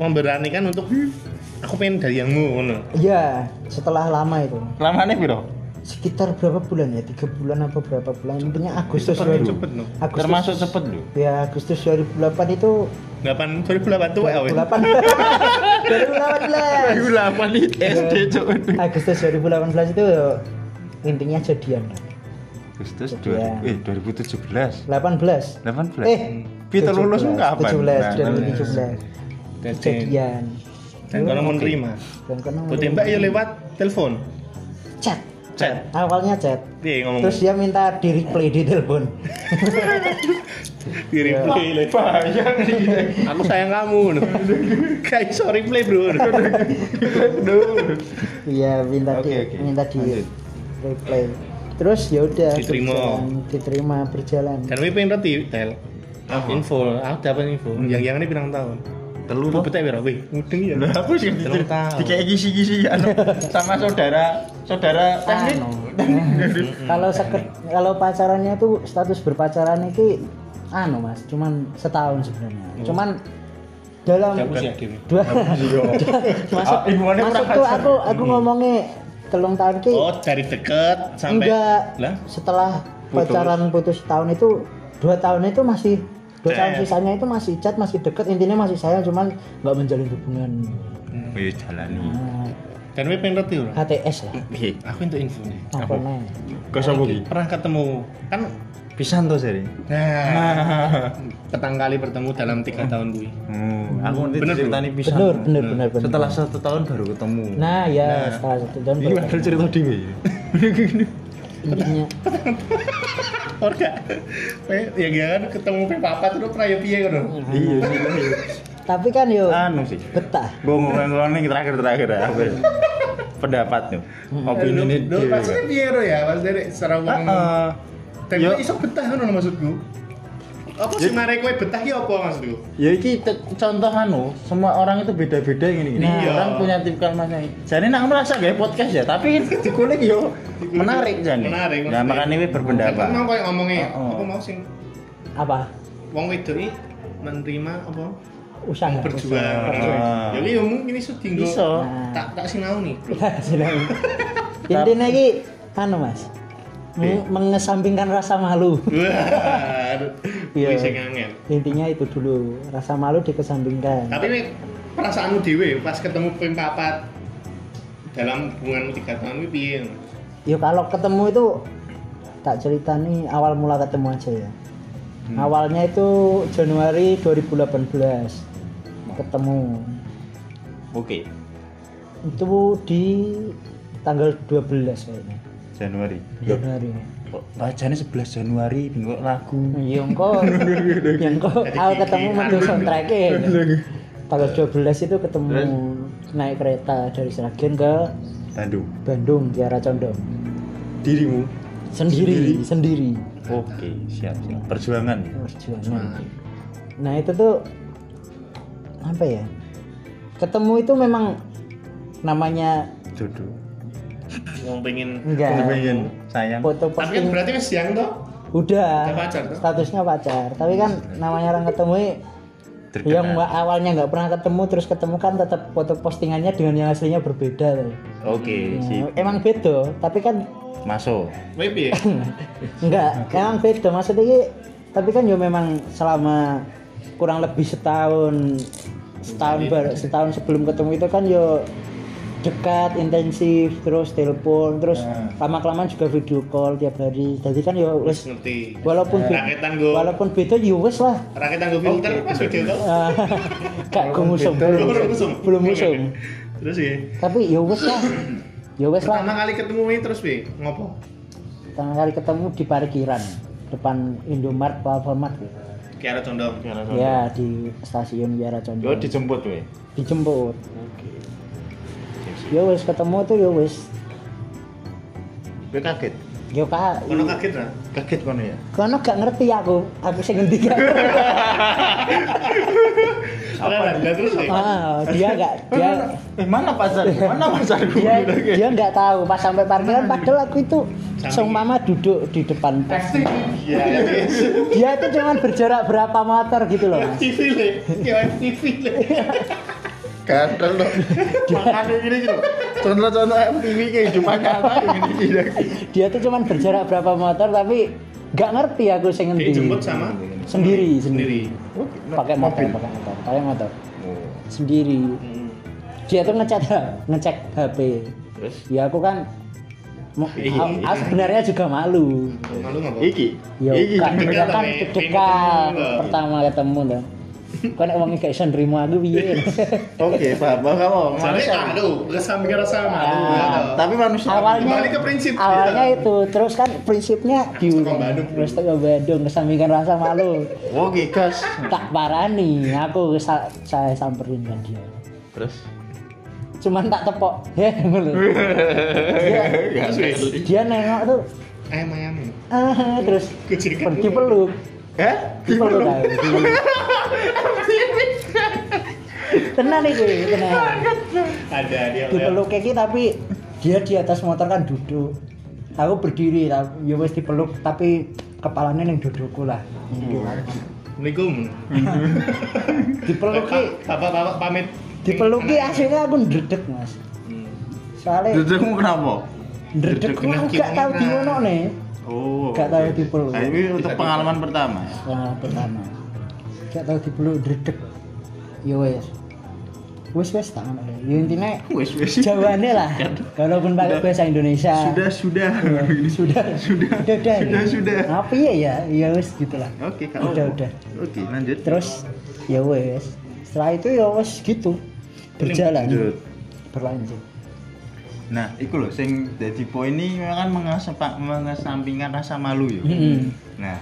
S2: memberanikan untuk aku pengen dari yangmu ngono.
S3: Iya, setelah lama itu.
S1: Lamanya piro?
S3: Sekitar berapa bulan ya? Tiga bulan apa berapa bulan? Intinya Agustus
S2: Cepet,
S3: 2000.
S2: cepet, no.
S3: Agustus,
S1: Termasuk cepet loh.
S3: Ya, Agustus 2008 itu
S2: 8 2008 tuh we.
S3: 2018.
S1: 2008 itu SD cok.
S3: Iya. Agustus 2018 itu intinya jadian.
S1: Agustus
S3: Iya.
S1: 2000 eh 2017.
S3: 18.
S1: 18.
S3: Eh,
S1: Pita lulus kapan?
S3: 17
S1: Nah,
S3: 2017. Jadian.
S2: Dan kalau mau nerima.
S3: Dan kena
S2: Gue tembak ya lewat telepon.
S3: chat.
S2: Chat.
S3: Awalnya chat.
S2: Dia ngomong
S3: Terus dia minta di replay di telepon.
S2: di replay lewat. Ya. Aku sayang kamu. no. Kayak sorry play bro.
S3: Iya, minta di
S1: Oke, oke.
S3: minta di
S1: Lanjut.
S3: replay. Terus ya udah
S2: Diterima.
S3: berjalan, diterima berjalan.
S2: Dan we pengen roti tel. Info, aku dapat info. Yang yang ini pirang tahun.
S1: Telu
S2: Lu betek pira we? Hmm. Mudeng ya.
S1: Lah aku sih
S2: Telung tahun. Iya.
S1: kayak gisi-gisi anu, sama saudara saudara teknik.
S3: Anu. kalau seke- kalau pacarannya tuh status berpacaran itu anu Mas, cuman setahun sebenarnya. Cuman dalam
S2: Gabus ya Dewi.
S3: dua masuk
S1: Ah, hitungannya
S3: masuk
S1: kurang
S3: tuh
S1: ajar.
S3: aku aku ngomongnya telung tahun ki
S2: Oh, dari deket sampai
S3: enggak
S2: lah.
S3: setelah
S1: Putus.
S3: pacaran putus tahun itu dua tahun itu masih dua
S2: Chat.
S3: tahun sisanya itu masih chat masih deket intinya masih sayang cuman nggak menjalin hubungan
S1: Wis Oh, iya, jalani.
S3: Nah,
S2: Dan we pengen roti ora.
S3: HTS lah
S1: Piye?
S2: Aku untuk info nih.
S3: apa nih
S1: Iya. Kok sapa iki?
S2: Pernah ketemu kan
S1: Pisan to seri.
S2: nah petang kali bertemu dalam tiga tahun gue.
S1: Hmm, aku nanti
S2: Bener,
S1: ceritani pisan. Hmm.
S3: bener bener bener bener
S1: Setelah satu tahun baru ketemu.
S3: nah ya setelah satu tahun
S1: Ini
S3: baru
S1: padahal cerita dhewe. ya.
S3: intinya
S2: Orga. yang jangan ya, kan, ketemu pe papat terus pernah ya piye ngono.
S1: Iya sih.
S3: tapi kan yo
S1: Anu sih.
S3: betah
S1: Gue ngomong-ngomong ini terakhir-terakhir ya. apa ya? Pendapat tuh. Opini ini
S2: Lho,
S1: dhewe.
S2: maksudnya piye ro ya? Maksudnya nek secara
S1: Ah,
S2: wong.
S1: Heeh.
S2: Tapi
S1: yo.
S2: iso betah ngono lho maksudku. Apa sih mare kowe betah ki apa maksudku?
S1: Ya iki te- contoh anu, semua orang itu beda-beda gini gini.
S2: Iya.
S1: Orang punya tipikal masing Jadi nak merasa gak podcast ya, tapi dikulik yo menarik jane.
S2: Menarik,
S1: Nah,
S2: maksudnya.
S1: makanya ini berpendapat.
S2: Aku mau koyo ngomongnya,
S1: Oh, oh.
S2: aku mau sing
S3: apa
S2: wong wedok iki menerima apa?
S3: usaha
S2: Berjuang.
S1: Ah.
S2: Ya yo mungkin iso dinggo.
S1: Iso.
S2: Tak tak sinau nih, Bro.
S3: Silakan. Nah, intinya ki anu mas meng- mengesampingkan rasa malu
S2: Wah,
S3: Iya.
S2: iya. sing angel.
S3: intinya itu dulu rasa malu dikesampingkan
S2: Tapi ini perasaanmu dewe pas ketemu ping papat dalam hubungan tiga tahun ini piye?
S3: yuk kalau ketemu itu tak cerita nih awal mula ketemu aja ya awalnya itu Januari 2018 ketemu
S1: Oke,
S3: itu di tanggal 12 kayaknya
S1: Januari.
S3: Januari
S1: Bacanya 11 Januari, bingung lagu.
S3: yang kok yang kok aku ketemu metu soundtracknya
S1: Iya,
S3: tanggal 12 itu ketemu naik kereta dari Sragen ke
S1: Tandu.
S3: Bandung Kiara Condong
S1: Dirimu.
S3: sendiri sendiri
S1: Oke, siap siap. Perjuangan.
S3: perjuangan nah itu tuh apa ya ketemu itu memang namanya
S1: Jodoh.
S2: Wong pengen
S1: Nah.
S3: enggak
S1: Pengen sayang.
S2: ya?
S3: foto
S2: tapi kan
S3: posting
S2: berarti wis siang toh?
S3: udah
S2: Udah pacar, toh?
S3: statusnya pacar tapi kan namanya orang ketemu yang wa- awalnya nggak pernah ketemu terus ketemu kan tetap foto postingannya dengan yang aslinya berbeda tuh.
S1: Oke,
S3: Nah,
S1: sip.
S3: emang beda tapi kan
S1: Masuk.
S2: Wae piye?
S3: Enggak, emang beda maksudnya iki, tapi kan yo memang selama kurang lebih setahun setahun bar, setahun sebelum ketemu itu kan yo dekat intensif terus telepon terus lama kelamaan juga video call tiap hari jadi kan yo wes
S2: Ngerti.
S3: walaupun be-
S2: Raketan go.
S3: walaupun beda yo wes lah
S2: Rakitan go filter pas video toh.
S3: gak gue musum
S2: Belum musim.
S3: belum musum
S2: Terus ya.
S3: tapi yo wes lah yo wes lah
S2: Pertama kali ketemu ini terus piye? Ngopo?
S3: pertama kali ketemu di parkiran depan Indomart Pak Alfamart gitu.
S2: Kiara condong.
S3: Ya di stasiun Biara Condong.
S1: Yo dijemput weh.
S3: dijemput. Ya wes ketemu tuh ya wes.
S1: Gue kaget.
S3: Yo kak,
S4: Kono kaget lah.
S1: Kaget kono ya.
S3: kono gak ngerti aku, aku sing ngendi gak.
S4: Lah, lah,
S2: ya.
S4: terus eh,
S3: Ah, dia gak, dia
S1: Eh mana pasar? Mana pasar Gitu,
S3: dia dia nggak tahu pas sampai parkiran padahal aku itu seumpama duduk di depan pos
S4: Iya, iya, iya.
S3: dia itu cuman berjarak berapa meter gitu loh Mas.
S4: TV
S2: ya.
S4: le. Kayak TV le.
S3: Iya.
S1: Gatel loh. Makan gini gitu. Contoh-contoh MTV kehidupan nyata gini gitu.
S3: Iya.
S1: gini.
S3: dia tuh cuman berjarak berapa meter tapi nggak ngerti aku sing ngendi
S4: Dijemput sama
S2: Iya.
S3: sendiri sendiri
S4: sendiri.
S2: Oh,
S3: pakai motor pakai motor pakai motor sendiri
S2: Hmm,
S3: dia tuh ngecek ngecek HP
S1: Terus?
S3: ya aku kan mau-
S4: Iya.
S3: aku aku sebenarnya juga malu
S4: Malu nggak? Pak?
S1: Iki.
S3: ya
S4: Iya,
S1: Iki.
S3: kan
S4: deg-degan
S3: ya kan
S4: tapi
S3: deg-degan
S4: pengen ketemu.
S3: pertama ketemu dah kan uangnya kayak iso nrimo
S4: Iya.
S3: aku piye
S1: Oke, paham paham kamu.
S4: Soalnya
S1: Manusia.
S4: malu, rasa mikir rasa malu.
S3: Ah,
S4: ya, toh.
S1: Tapi manusia.
S3: awalnya
S4: Kembali ke prinsip. iya.
S3: awalnya itu terus kan prinsipnya
S4: Resto
S3: diulang
S4: Bandung.
S3: Resto Bandung kesampingkan rasa malu
S1: Oke, gas.
S3: tak parani aku sa- saya samperin kan dia
S1: Terus.
S3: cuman tak tepok heh ngono. dia,
S1: Eh?
S2: ya.
S3: dia nengok tuh
S2: Eh,
S4: Ayam ayam.
S3: ah, terus
S4: Kucing.
S3: pergi peluk
S1: Eh?
S3: dipeluk aku dipeluk. tenan nih gue tenan
S4: Ada dia.
S2: Iya.
S3: dipeluk kayak gitu, tapi dia di atas motor kan duduk aku berdiri ta- ya wis dipeluk tapi kepalanya yang dudukku lah
S4: Assalamualaikum.
S3: dipeluki
S4: Bapak bapak pamit.
S3: dipeluki aslinya aku ndredeg mas soalnya
S1: Dudukmu kenapa?
S3: ndredeg
S4: ndredeg
S3: aku gak tau
S4: kena.
S3: di mana nih
S1: Oh.
S3: Gak tahu dipeluk.
S1: Nah, ini untuk pengalaman pertama ya.
S3: Nah, pertama gak tau di peluk ndredeg ya wis wis wis tak ngono ya intinya
S1: Wes wes.
S3: jawabannya lah walaupun pakai bahasa Indonesia
S1: Sudah sudah. Ini
S3: sudah
S1: sudah
S3: udah udah
S1: sudah sudah.
S3: apa ya ya ya wis gitulah
S1: Oke, Kak.
S3: Udah, udah.
S1: Oke, lanjut.
S3: terus ya wes setelah itu ya wes gitu berjalan
S1: Lanjut.
S3: berlanjut
S1: Nah, iku lho sing dadi poin ini memang kan mengesepak mengesampingkan rasa malu ya.
S3: Mm-mm.
S1: Nah,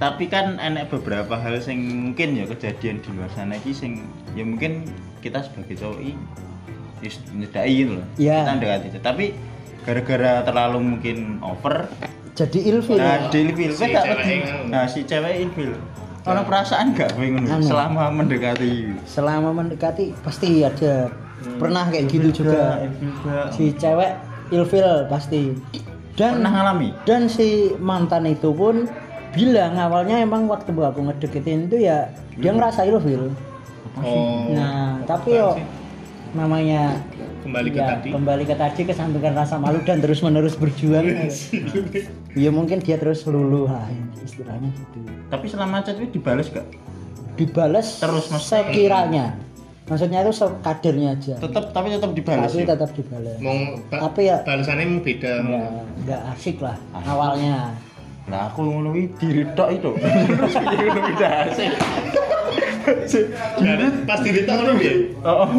S1: tapi kan enek beberapa hal sing mungkin ya kejadian di luar sana iki sing ya mungkin kita sebagai cowok iki wis nyedaki loh.
S3: Iya.
S1: Kita ndekati. Tapi gara-gara terlalu mungkin over
S3: jadi ilfil
S1: Nah, di ilfil
S4: Si
S1: kowe gak
S4: cewek
S1: wedi.
S4: yang-
S1: Nah, si cewek ilfil. Ono perasaan gak kowe ngono
S3: Iya. Anu.
S1: selama mendekati
S3: selama mendekati pasti ada
S1: Hmm.
S3: pernah kayak gitu juga si cewek ilfil pasti dan
S1: pernah ngalami?
S3: dan si mantan itu pun bilang awalnya emang waktu aku ngedeketin itu ya dia ngerasa ilfil
S4: Hmm. Oh.
S3: nah tapi yo namanya
S4: Kembali ke
S3: ya,
S4: tadi.
S3: kembali ke tadi kesampingkan rasa malu dan terus menerus berjuang ya mungkin dia terus luluh lah istilahnya gitu
S1: Tapi selama chat itu dibales gak?
S3: dibales
S1: Terus, Mas.
S3: sekiranya maksudnya itu sekadernya aja
S1: Tetap tapi tetap dibales.
S3: tapi
S1: ya?
S3: tetap dibales
S4: Mau ba-
S3: Tapi ya-
S4: balasannya mau beda.
S3: ya nggak asik lah awalnya
S1: Lah aku ngono kuwi diri tok itu. Terus piye ngono kuwi dasar.
S4: Nah, pasti dia tahu nih.
S1: Heeh.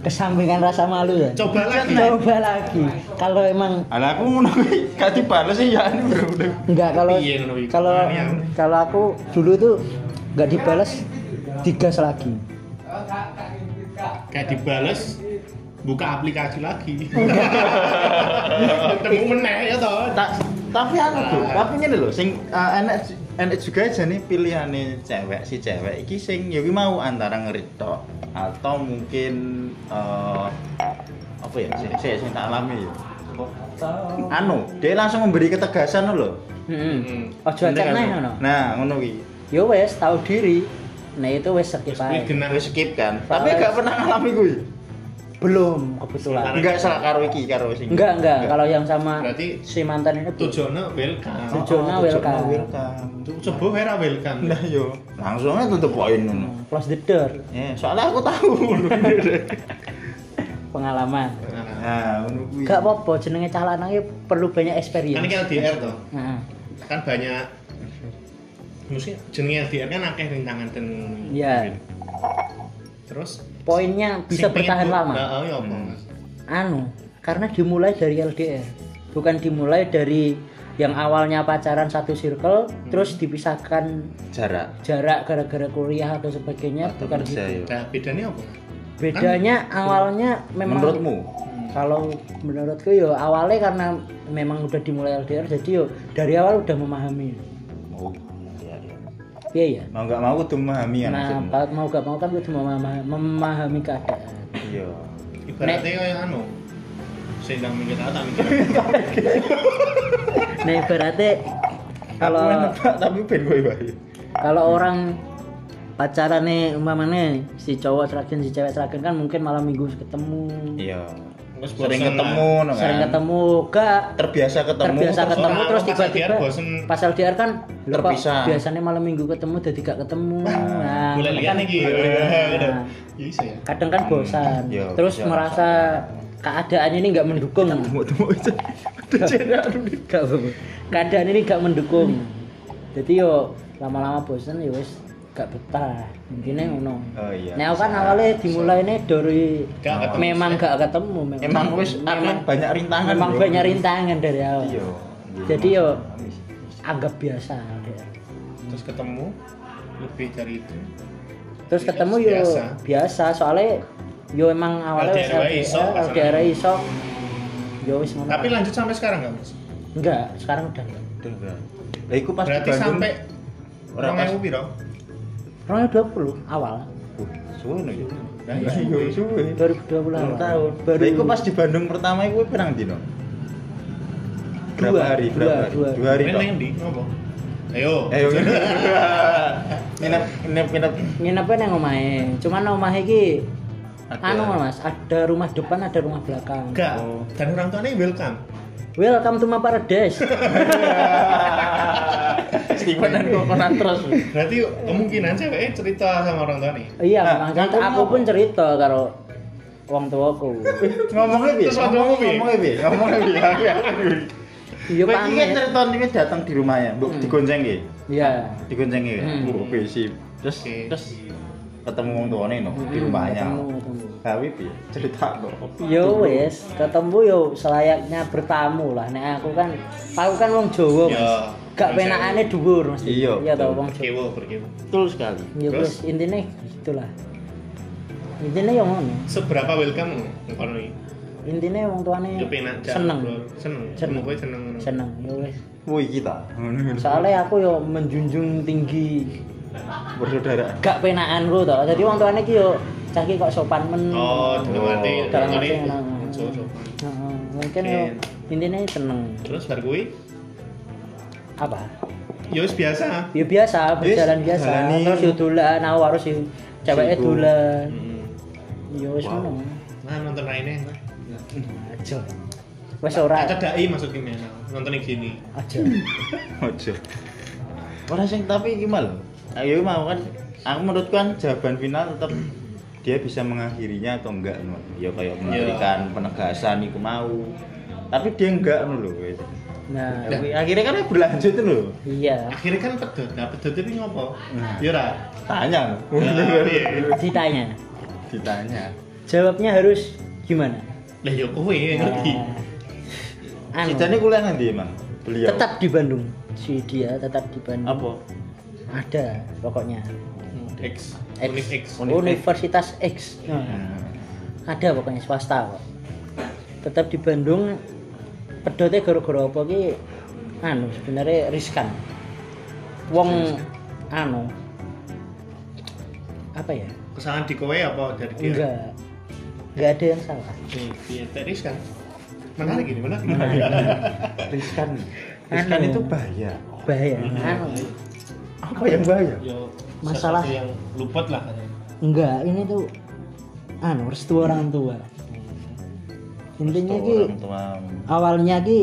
S3: kesampingan rasa malu ya
S4: Coba lagi.
S3: coba lagi kalau emang
S1: Lah aku ngono kuwi gak dibales ya anu bro.
S3: nggak kalau
S4: Iya, ngono iki.
S3: kalau
S4: Iya.
S3: kalau aku dulu tuh nggak dibales digas lagi
S4: Gak dibales buka aplikasi lagi.
S3: Iya.
S4: Ketemu meneh ya toh.
S1: Ta- tapi anu bro, tapi ngene lho sing eh, enak ju- enak juga jane pilihane cewek si cewek iki sing ya kuwi mau antara ngerit tok atau mungkin eh, apa ya sing sing sing tak alami ya. Anu, dia langsung memberi ketegasan lho.
S4: Hmm.
S3: ojo acak neh Oh, ngono
S1: Nah, ngono kuwi.
S3: yo wes tahu diri nah itu wes skip
S4: Ini
S3: aja.
S4: genah
S1: Nah, wis skip kan. Tapi
S3: Soalnya-
S1: gak pernah ngalami kuwi.
S3: belum kebetulan
S1: Enggak salah karo iki karo sing.
S3: enggak enggak kalau yang sama
S4: Berarti
S3: si mantan ini tujuh
S4: tujuannya
S1: Nah,
S4: welcome.
S3: tujuannya
S1: oh,
S3: welcome.
S4: Coba era welcome.
S1: Nah yo, langsungnya tutup poin ngono.
S3: close the door
S1: Ya, soalnya aku tahu.
S3: pengalaman
S4: Nah,
S1: nah, ngono kuwi.
S3: gak apa-apa jenenge cah lanang iki perlu banyak
S4: Kan ini
S3: experience
S4: LDR toh.
S3: Heeh.
S4: Kan banyak mesti jenenge LDR kan akeh rintangan dan
S3: Iya.
S4: Terus
S3: poinnya bisa
S4: sing pengen
S3: bertahan
S4: bu-
S3: lama
S4: Heeh, ya apa, Mas?
S3: anu karena dimulai dari LDR bukan dimulai dari yang awalnya pacaran satu circle
S1: Hmm.
S3: terus dipisahkan
S1: Jarak.
S3: jarak gara-gara kuliah atau sebagainya
S1: Atau
S3: bukan
S1: kerja ya.
S3: gitu.
S1: yo.
S4: Nah, bedanya apa?
S3: bedanya awalnya memang
S1: Menurutmu?
S3: kalau menurutku yo awalnya karena memang udah dimulai LDR jadi yo dari awal udah memahami
S1: Oh, iya, iya.
S3: iya ya
S1: Mau nggak mau kudu memahami ya
S3: nah
S1: maksudmu.
S3: pa- mau gak mau kan udah memahami, memahami keadaan
S1: Iya.
S2: Ibaratnya kayak anu. Saya nggak mikir tak mikir.
S3: nah ibaratnya
S1: Kalau
S3: kalau
S1: tapi ben kowe bae.
S3: kalau orang pacaran nih umpamanya si cowok terakhir si cewek terakhir kan mungkin malam minggu ketemu
S1: Iya.
S2: Terus
S1: Sering
S2: bosen
S1: ketemu, no kan?
S3: sering ketemu gak
S1: Terbiasa ketemu.
S3: terbiasa
S1: terus
S3: ketemu
S2: orang
S3: terus
S2: pas
S3: tiba-tiba
S2: LDR bosen.
S3: pas LDR kan lho, kok
S1: Terpisah. Ah,
S3: biasanya malam minggu ketemu jadi gak ketemu nah,
S2: Boleh lihat
S3: kan-
S2: nih gitu.
S3: Nah,
S2: Ya bisa ya.
S3: kadang kan bosan
S1: Iya,
S3: terus
S1: bisa
S3: merasa keadaan ini nggak mendukung
S1: Temu-temu itu. Aduh, jenak, aduh.
S3: Nggak apa-apa. keadaan ini nggak mendukung jadi yo lama-lama bosan ya wis gak betah mungkin ngono
S1: Oh iya.
S3: Nah, aku kan
S1: bisa.
S3: awalnya dimulai ini dari
S2: Nggak ketemu.
S3: Nah. memang gak ketemu memang.
S1: Emang wis
S3: memang,
S1: memang banyak rintangan.
S3: memang
S1: bro.
S3: banyak rintangan dari awal.
S1: Iya. Iya.
S3: Jadi yo anggap biasa LDR.
S2: Terus ketemu lebih dari itu.
S3: Terus
S2: Iya,
S3: ketemu yo
S2: biasa.
S3: biasa. soalnya yo emang awalnya wis
S2: LDR wae iso, pasangan.
S3: LDR iso. Yo wis ngono.
S2: Tapi lanjut sampai sekarang nggak mas?
S3: enggak, sekarang udah enggak.
S1: Udah, udah. Lah iku pas di
S2: Berarti
S1: Bandung,
S2: sampai
S1: Ora
S2: orang
S1: pas.
S2: yang piro?
S3: 2020 awal.
S1: Wuh, suwe ya.
S2: Nah, iya.
S1: Iya, suwe.
S3: 2020 awal.
S1: Belum tahu.
S3: Baru
S1: Lah iku pas di Bandung pertama iku pirang dino? Berapa
S3: Dua,
S1: hari?
S3: dua,
S1: Berapa hari?
S3: dua.
S1: Dua hari.
S2: Ini
S1: toh?
S2: yang di ngopo? Ayo.
S1: Eh, yo. Nginep nginep nginep.
S3: nginepnya nang omahe. Cuman omah iki
S1: Ada.
S3: anu Mas, ada rumah depan, ada rumah belakang.
S2: Enggak.
S1: Oh.
S2: Dan orang tuanya welcome.
S3: Welcome to my paradise.
S1: Steven dan Coconut terus.
S2: Berarti kemungkinan ceweknya cerita sama orang tuanya.
S3: Iya,
S1: Nah,
S3: memang cerita.
S1: aku
S3: aku
S1: mau-
S3: pun cerita karo wong tuaku.
S1: Ngomongnya piye?
S2: Terus ngomongnya piye?
S1: Ngomongnya piye? Ngomongnya piye? Aku yang aku. ya.
S3: Iya,
S1: Kowe iki
S3: pamit.
S1: cerita niki datang di rumahnya, Mbok
S3: Hmm.
S1: digonceng nggih.
S3: Iya.
S1: Digonceng nggih.
S3: Hmm.
S1: Mbok Oke, sip. Terus
S2: Oke.
S1: terus ketemu wong tuane no di ya. rumahnya.
S3: Hmm, Ketemu, ketemu.
S1: Gawe piye? Cerita no.
S3: Yo wis, ketemu yo selayaknya bertamu lah. Nek aku kan aku kan wong Jawa,
S2: Iya.
S3: Mas. Gak
S2: Wong
S3: penakane dhuwur mesti.
S1: Iya,
S3: Iya ta
S1: betul.
S3: wong
S2: Berkewo,
S3: Jawa.
S2: berkewo.
S1: Betul sekali.
S3: Ya
S2: Terus?
S3: wis intine gitulah. Intine yo ngono.
S2: Seberapa welcome ngono iki?
S3: Intine wong tuane
S2: Yo penak Cak.
S3: Hmm. seneng.
S2: Seneng.
S3: Seneng.
S2: Seneng kowe seneng ngono.
S3: Seneng yo wis.
S1: Woi kita.
S3: Soalnya aku yo menjunjung tinggi
S1: bersaudara.
S3: gak penakanku to. Jadi wong tuane iki yo cah iki kok sopan men.
S2: Oh, dalam
S1: Oh.
S2: arti
S3: dalam
S2: ini
S3: arti ngono.
S2: sopan.
S3: Heeh, mungkin
S2: Oke.
S3: yo intinya seneng
S2: Terus bar kuwi
S3: apa
S2: ya wis biasa.
S3: ya biasa
S1: Yes,
S3: berjalan biasa
S1: jalani.
S3: terus yo dolan aku harus yo ceweknya
S1: Sibuk.
S3: dolan
S2: Heeh.
S3: yo wis
S1: Wow.
S3: ngono
S2: Nah, nonton raine.
S3: aja wis ora
S2: Tak cedaki maksudnya Mel. nonton iki gini.
S3: aja
S1: Ojo. Ora sing tapi iki mal. Ayo mau kan aku menurutku kan jawaban final tetap dia bisa mengakhirinya atau enggak no. Ya kayak
S2: Iya.
S1: memberikan penegasan iku mau. Tapi dia enggak no lho. wes.
S3: nah
S1: Tapi Akhirnya kan berlanjut lho.
S3: iya
S2: Akhirnya kan pedot. Nah, pedot itu ngopo?
S1: Nah.
S2: Ya ora.
S1: Tanya. lho.
S2: Nah, iya.
S3: ditanya
S1: Ditanya.
S3: jawabnya harus gimana
S2: Lah ya kowe yang ngerti.
S3: Nah, anu,
S1: Sidane kuliah nanti emang
S2: Iya.
S1: beliau.
S3: tetap di Bandung si dia tetap di Bandung
S1: apa?
S3: ada pokoknya
S2: Hmm, X.
S3: X.
S2: Unik X. Hmm.
S3: Universitas X Nah. ada pokoknya swasta kok tetap di Bandung pedotnya gara-gara apa ki anu sebenarnya riskan wong anu apa ya
S2: Kesalahan di kowe apa dari dia?
S3: enggak enggak ada yang salah
S2: Nih, Iya, teris kan. Menarik ini, menarik. Ya.
S1: Riskan. Riskan
S3: Anu.
S1: itu bahaya.
S3: bahaya
S2: Hmm.
S3: anu
S1: Apa yang bahaya?
S2: Yo,
S3: Masalah-
S2: Ya, sesuatu
S3: Nah.
S2: yang luput lah katanya.
S3: enggak ini tuh anu restu orang tua intinya
S1: Tuh,
S3: ki
S1: orang tua.
S3: awalnya ki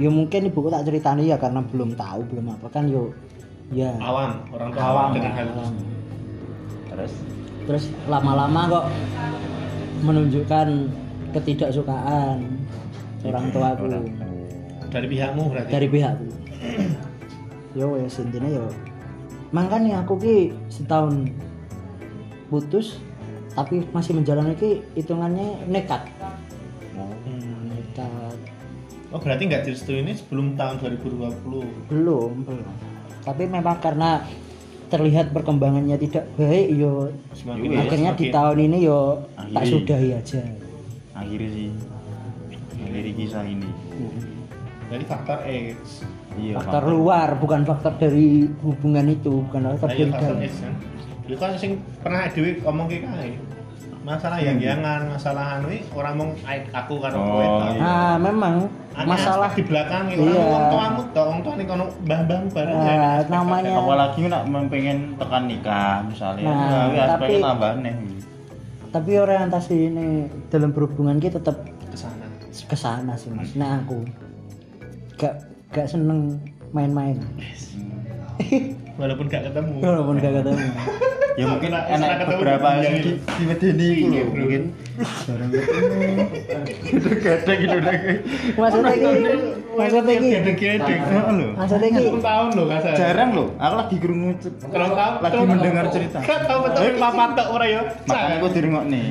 S3: ya mungkin ibuku tak ceritani ya karena belum tahu belum apa kan yo ya
S2: Awam, orang tua
S3: awam,
S2: dengan hal
S3: awam.
S1: Terus
S3: terus lama-lama kok menunjukkan ketidaksukaan orang tuaku
S2: dari pihakmu berarti.
S3: dari pihakku yo ya intinya yo makanya aku ki setahun putus tapi masih menjalani ki hitungannya nekat nekat
S2: Hmm. Oh, berarti nggak direstu ini sebelum tahun 2020.
S3: belum belum tapi memang karena terlihat perkembangannya tidak baik yo
S2: Semakin
S1: Iya,
S3: akhirnya
S2: ya,
S3: di
S2: semakin-
S3: tahun ini yo tak
S1: Akhiri.
S3: sudahi aja
S1: akhirnya sih akhirnya kisah ini
S2: Jadi faktor X.
S1: iya
S3: faktor luar bukan faktor dari hubungan itu bukan faktor
S2: Ayo
S3: dari
S2: Nah, faktor
S3: dalam
S2: X kan. Lu kan sing pernah dewi ngomong ke kae. Masalah yang-yangan, masalah anu iki orang ngomong "Ai- aku karo
S1: Oh,
S2: kowe tau.
S1: iya.
S3: nah memang
S2: Aneh,
S3: masalah
S2: di belakang iki
S3: Iya.
S2: orang ngomong tuamu tau, orang tua nih kono mbah-mbah bareng.
S3: Nah,
S2: ya.
S3: namanya-
S1: apalagi nak pengen tekan nikah misalnya
S3: Nah,
S1: nah, tapi aspeknya
S3: tapi-
S1: tambah nih
S3: tapi orientasi ini dalam berhubungan kita tetap
S2: kesana.
S3: kesana sih mas nah aku gak gak seneng main-main
S2: Walaupun gak ketemu.
S3: walaupun gak ketemu
S1: ya mungkin
S2: Nah,
S1: enak
S2: setelah ketemu
S1: beberapa
S2: di
S1: yang
S2: dunia
S1: di
S2: gitu.
S1: di medeni itu
S2: Iya,
S1: loh
S2: bro.
S1: mungkin jarang ketemu gitu gadek gitu nek
S3: maksudnya ini maksudnya ini
S2: Gedek-gedek.
S1: Heeh lho.
S3: maksudnya ini
S2: Telung tahun loh kasar.
S1: jarang loh aku lagi krungu cer-
S2: Telung tahun.
S1: lagi
S2: telung
S1: mendengar
S2: tahun.
S1: cerita
S2: Gak tau betul
S1: Tapi
S2: papan tok ora ya.
S1: makanya aku direngok nih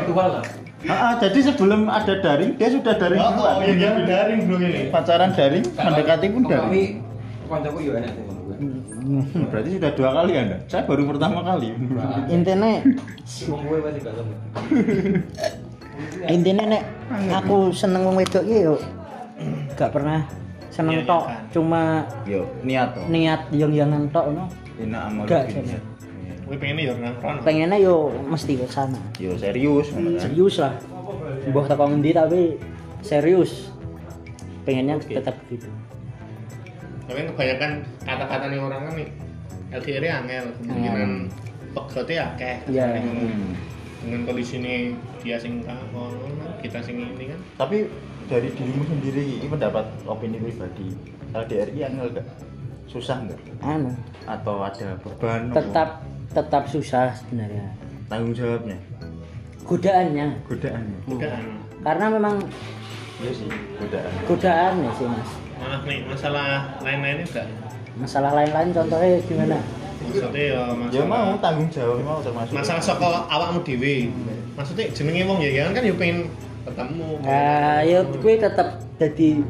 S5: virtual lah
S1: Ah, ah, jadi sebelum ada daring dia sudah daring
S2: Oh,
S1: duluan.
S2: oh, Nah, ya dia daring bro ini.
S1: pacaran daring mendekati pun daring
S5: tapi koncoku yo enak sih menurut gue.
S2: nah.
S1: Hmm, berarti sudah dua kali anda saya baru pertama kali
S5: Nah,
S3: intinya
S5: wong gue pasti gak tau.
S3: intinya nek aku seneng wong wedok iki yo gak pernah seneng
S2: Iya,
S3: tok
S2: iya kan.
S3: cuma
S1: yo niat toh
S3: niat yang jangan tok no
S1: ini amal
S3: Enggak,
S1: bikin.
S3: Jan.
S2: Gue pengennya ya nongkrong.
S3: pengennya yo mesti ke sana
S1: yo serius ngono kan.
S3: serius lah mbah teko ngendi tapi serius pengennya tetap gitu
S2: tapi kebanyakan kata-kata nih orang kan nih LDR nya angel kemungkinan pegote akeh
S3: Hmm. Iya.
S2: Nih,
S1: Hmm.
S2: dengan kondisi ini dia sing kangen kita sing ini kan
S3: Hmm.
S1: tapi dari dirimu sendiri ini pendapat opini pribadi LDRI angel anu enggak susah enggak
S3: anu
S1: atau ada beban apa?
S3: tetap tetap susah sebenarnya
S1: tanggung jawabnya
S3: godaannya
S1: godaannya
S2: udah
S3: karena memang
S1: iya sih godaan
S3: godaannya sih mas
S2: malah nih masalah lain-lainnya enggak
S3: masalah lain-lain contohnya ya gimana
S2: maksudnya ya masalah
S1: ya mau tanggung jawab mau termasuk
S2: masalah soko awakmu dewi maksudnya jenenge wong ya kan kan ya pengen ketemu
S3: nah ya gue tetap jadi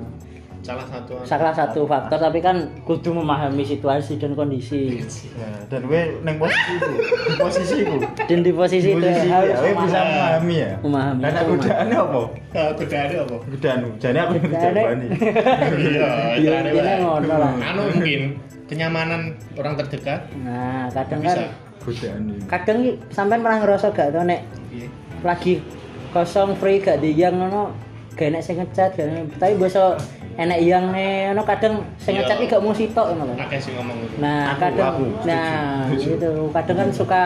S2: salah satu
S3: salah satu faktor tapi kan kudu memahami situasi dan kondisi
S1: Ya, dan gue neng posisi itu di posisi itu
S3: dan di
S1: di
S3: posisi itu
S1: posisi itu ya,
S3: harus
S1: gue bisa
S2: memahami.
S1: memahami ya
S3: Memahami.
S1: dan aku godaannya apa
S2: Eh, beda ada apa
S1: godaanmu jadi aku yang
S3: Godaannya.
S1: dijawabani
S2: iya
S3: Iya,
S2: ada
S3: intinya ngono lah.
S2: anu mungkin kenyamanan orang terdekat
S3: nah kadang kan
S2: bisa
S1: godaan ini
S3: kadang ki sampean pernah ngerasa gak tau nek
S2: Iya.
S3: lagi kosong free gak di yang ngono gak enak sing ngecat gak enak- tapi biasa enak yang nih ngono kadang sing
S2: Iya.
S3: ngecat ki gak mau sitok ngono kan
S2: akeh sih ngomong gitu. itu
S3: nah
S1: Aku,
S3: kadang
S1: aku.
S3: nah
S1: Setuju.
S3: gitu kadang kan suka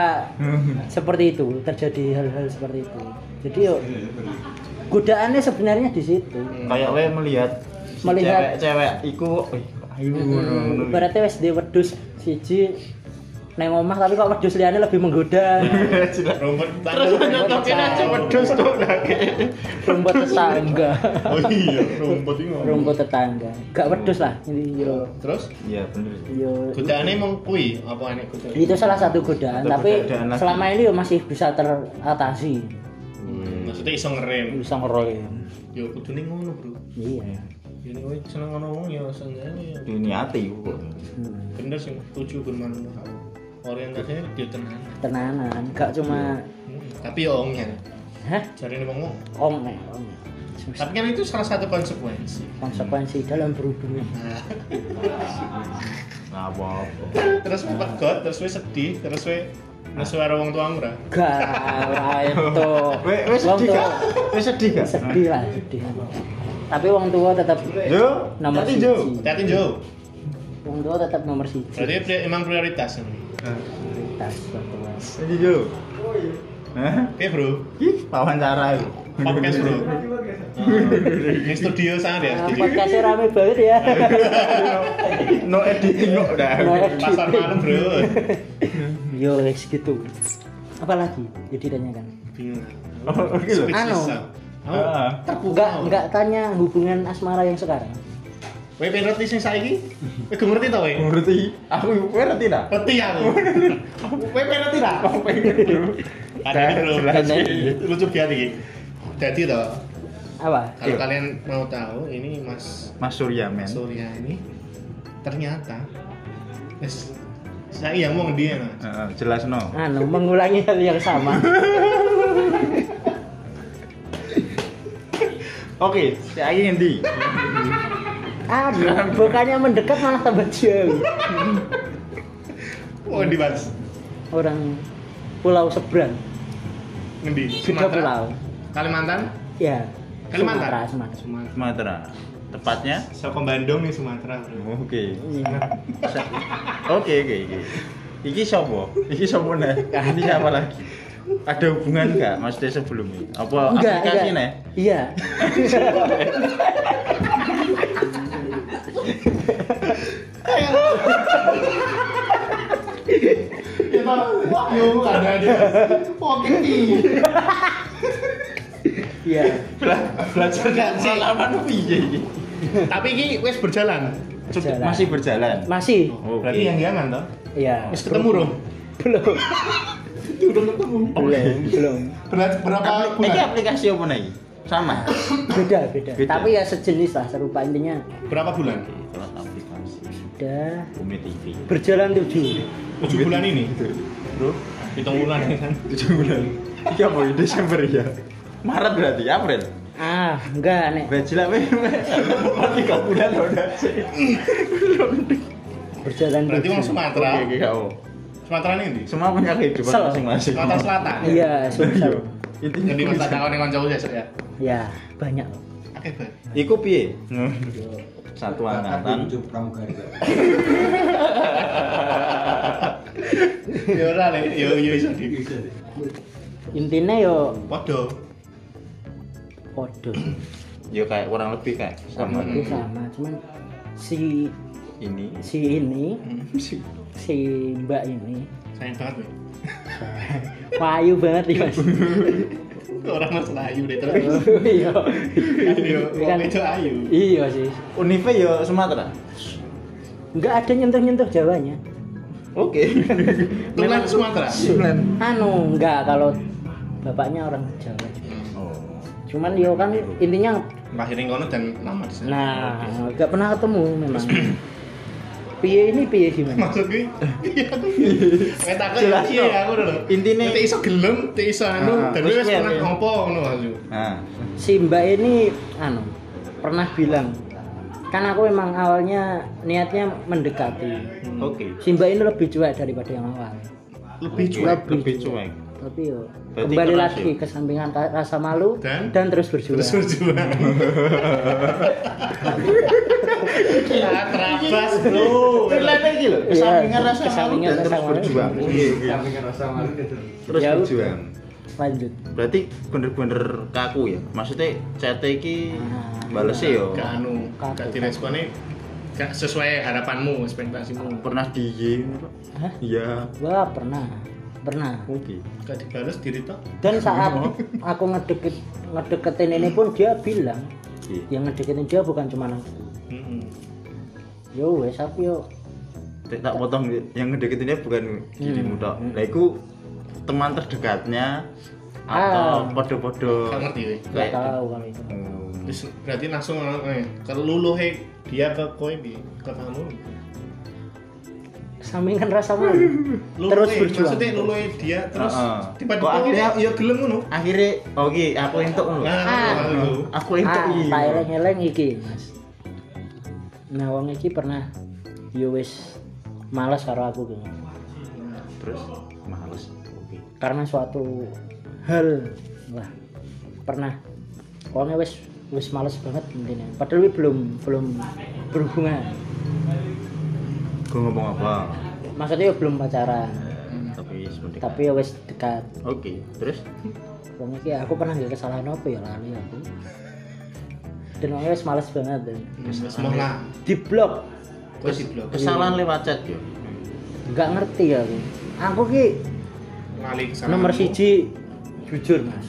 S3: seperti itu terjadi hal-hal seperti itu jadi yuk godaannya sebenarnya di situ
S2: Hmm.
S1: kayak gue melihat si
S3: Melihat.
S1: cewek-cewek iku wih, ayu ngono-ngono.
S3: Hmm, ibaratnya wes di wedus siji neng omah tapi kok wedus liane lebih menggoda
S2: rumput terus
S3: nyocokin aja
S2: wedhus tuh lagi
S3: rumput tetangga
S2: oh iya rumput ini ngomong.
S3: rumput tetangga gak wedus lah ini yo
S2: terus
S1: iya bener
S3: yo
S2: godaannya mau kui apa ini godaannya
S3: itu salah satu godaan
S1: Atau
S3: tapi
S1: godaan lagi.
S3: selama ini yo masih bisa teratasi
S2: Hmm, maksudnya iso ngerem
S3: bisa ngeroyen
S2: ya kudu nih ngono bro
S3: iya
S2: ini gue seneng ngono ngomong ya seneng ya
S1: diniati kok
S3: Hmm,
S2: bener sih tujuh bermanfaat orientasinya dia tenang
S3: tenanan gak cuma
S2: Hmm, tapi ya ongnya
S1: Iya.
S3: hah
S2: cari nih ngomong
S3: om eh, om Susah.
S2: tapi kan itu salah satu konsekuensi
S3: konsekuensi dalam berhubungan
S1: Nah, apa-apa
S2: terus gue pegot terus gue sedih terus gue nesu karo wong tuamu ora
S3: gak lah itu
S1: Weh, weh
S3: Wong
S1: sedih kan? Ya.
S3: tua- ya,
S1: gak? Weh sedih gak?
S3: sedih lah sedih tapi wong tua tetap
S1: Jo,
S3: nomor
S1: tapi
S3: siji
S1: Jo.
S2: hati-hati Jo
S3: wong tua tetap nomor siji
S2: berarti pri- emang prioritas ini
S3: Tas, wong tua.
S1: Jadi Jo. Hah?
S2: oke bro
S1: Ih, wawancara itu.
S2: podcast bro ini studio sangat ya
S3: Ah,
S2: studio
S3: podcastnya rame banget ya
S1: No editing kok dah.
S2: pasar malam bro Iya.
S3: yo wes gitu apalagi jadi kan. ditanyakan
S2: bingung
S1: Oh, oke loh.
S2: Speechless,
S3: Anu.
S2: Sam. Aku
S1: Ah.
S2: terpukau.
S3: nggak nggak tanya hubungan asmara yang sekarang
S2: Weh, pengen roti sing saiki? Weh, gue ngerti tau weh?
S1: Ngerti? Aku gue ngerti dah.
S2: Roti aku. Weh, pengen roti tak? Ada ini bro,
S1: Jelas.
S2: lucu banget ini. Jadi tau,
S3: apa
S1: Iya.
S2: kalau
S1: Kan?
S2: kalian mau tahu, ini Mas
S1: Mas Surya men.
S2: Surya ini ternyata es saya yang mau dia mas.
S1: Heeh, jelas no.
S3: anu mengulangi hal yang sama
S1: Oke, saya ingin di.
S3: Aduh, bukannya mendekat malah tambah jauh.
S2: Oh, di mas.
S3: Orang pulau seberang,
S2: Ngendi?
S3: beda pulau.
S2: Kalimantan?
S3: Ya.
S2: Kalimantan?
S3: Sumatera, Sumatera.
S2: Sumatera.
S1: Sumatera. Tepatnya?
S2: Soko Bandung nih Sumatera, Bro.
S1: Oke.
S3: Iya.
S1: Sa- Oke, oke, oke. Iki sopo? Iki sopo nih? Ini siapa lagi? Ada hubungan nggak maksudnya sebelumnya? Apa
S3: Oh,
S1: kan
S3: Enggak,
S1: aplikasi
S3: enggak.
S2: ya?
S1: nih?
S3: Iya.
S2: Kita wahyu ada ada. Oke,
S3: Iya.
S1: Bela- belajar nggak pengalaman piye iki?
S2: Tapi ini wes berjalan.
S3: Berjalan.
S1: Masih berjalan.
S3: Masih.
S1: Oke.
S2: Berarti yang jangan toh?
S3: Iya.
S2: Wes ketemu, Bro.
S3: Belum.
S2: Udah ketemu.
S3: Belum, belum.
S2: Berat berapa
S1: Apli- Eh, Iki
S2: bulan?
S1: aplikasi apa nih? Sama.
S3: Beda, beda.
S1: Beda.
S3: Tapi ya sejenis lah serupa intinya.
S2: Berapa bulan?
S1: Kelas aplikasi.
S3: Udah
S1: Bumi TV.
S3: berjalan tujuh.
S2: 7 bulan ini.
S1: Bro,
S2: Hitung bulan ya kan.
S1: 7 bulan. Iki apa ya? Desember ya? Maret berarti April.
S3: Ah, enggak nek.
S1: Bajilah weh. weh. Tiga bulan udah.
S3: Berjalan
S2: Berarti
S3: tujuh.
S2: wong Sumatera.
S1: Oke, oke, kamu.
S2: Sumatera ini ndi?
S1: Semua punya kehidupan
S3: Sel.
S1: masing-masing.
S2: Sumatera Selatan. ya?
S3: Iya, susah.
S1: Iya. Intinya
S2: Jadi masa tahun yang kancaku ya, Sok, ya.
S3: Ya, banyak loh.
S2: Oke, Bang.
S1: Iku piye? Satu angkatan.
S5: Hidup pramugari.
S2: Ya ora le, yo yo iso di.
S3: Intinya yo
S2: Podo.
S3: podo.
S1: Ya kayak kurang lebih kayak sama
S2: Hmm.
S3: Sama itu sama, cuman si
S1: ini.
S3: si ini, si Mbak ini
S2: Hmm. Sayang banget, Bang.
S3: payu banget nih Mas.
S2: Orang masalah ayu deh terus.
S3: Iya.
S2: Ayu,
S3: Kan-
S2: wong itu ayu.
S3: Iya sih.
S1: Unive ya Sumatera.
S3: Enggak ada nyentuh-nyentuh Jawanya.
S1: Oke.
S2: Tulan Sumatera.
S3: Anu, enggak kalau bapaknya orang Jawa.
S1: Oh.
S3: Cuman yo kan intinya
S2: Lahirin kono dan lama di sana.
S3: nah, enggak pernah ketemu memang. piye ini piye gimana?
S2: Maksud gue, iya aku. Kayak takut ya,
S1: Jelas,
S2: iya
S1: no.
S2: ya, aku dulu.
S1: Intine-
S2: Tek iso gelem, tek iso anu,
S1: Ah,
S2: dan
S1: wis
S2: wis
S1: kuwi,
S2: pernah
S1: ya.
S2: ngopo ngono ayu.
S1: Nah,
S3: Si Mbak ini anu pernah bilang kan aku memang awalnya niatnya mendekati.
S1: oke.
S3: Si Mbak ini lebih cuek daripada yang awal.
S2: Lebih
S1: cuek,
S2: cuek
S1: lebih cuek.
S3: Tapi yo
S1: Berarti
S3: kembali
S1: keras,
S3: lagi
S1: ya?
S3: kesampingan ra- rasa malu
S2: Dan?
S3: terus berjuang.
S2: terus berjuang. Sangat terabas, Bro.
S1: Kelihatan iki lho, Oh, iya. kesampingan rasa malu
S3: kesampingan
S1: dan
S3: rasa
S1: terus
S3: malu.
S1: berjuang.
S5: Iya, tapi kan rasa malu itu.
S1: Terus
S3: Jauh.
S1: berjuang.
S3: Lanjut.
S1: Berarti bener-bener kaku ya. Maksudnya chat iki ya?
S3: Ah,
S1: balesnya yo.
S2: Gak anu, gak diresponnya gak sesuai harapanmu, ekspektasimu.
S1: Pernah di
S3: Hah?
S1: Iya.
S3: Wah, pernah. Pernah.
S1: Oke.
S2: Gak dibales diri toh.
S3: Dan saat aku ngedeket ngedeketin ini pun dia bilang
S1: Iya.
S3: yang ngedeketin dia bukan cuma aku.
S2: Heeh.
S3: Yo wes aku yo.
S1: Tek, tak potong yang ngedeketinnya bukan
S3: Hmm.
S1: dirimu tok. Nah, iku teman terdekatnya atau
S3: Ah.
S1: podo-podo gitu.
S2: Gak ngerti we.
S3: Gak tahu kalau itu.
S1: Hmm.
S2: Terus berarti langsung eh, keluluhe dia ke kowe piye? Ke kamu.
S3: Sampingan rasa malu. terus
S2: Luluhe,
S3: berjuang.
S2: Maksudnya luluhe dia terus
S1: Heeh.
S2: tiba-tiba
S1: Kok akhirnya-
S2: ya gelem ngono.
S1: akhirnya oke aku entuk lho
S2: Nah,
S3: Ah.
S2: ngono lho.
S1: aku entuk
S3: ah,
S1: iki
S3: tak eleng-eleng iki, Mas. Nah, wong iki pernah yo wes males karo aku gitu.
S1: terus males oke
S3: Karena suatu hal lah pernah pokoknya wes wes males banget intinya. Padahal wis belum belum berhubungan.
S1: gue ngomong apa
S3: Maksudnya yo belum pacaran.
S1: tapi sebentar
S3: Hmm. tapi Iya. ya wes dekat
S1: oke terus
S3: wong iki aku pernah nggak kesalahan apa ya lali aku dan wong wes males banget dan
S2: Terus lah.
S3: di blok
S2: Terus diblok.
S1: kesalahan lewat chat yo
S3: nggak ngerti ya aku aku ki
S2: Lali ke sana.
S3: nomor siji jujur mas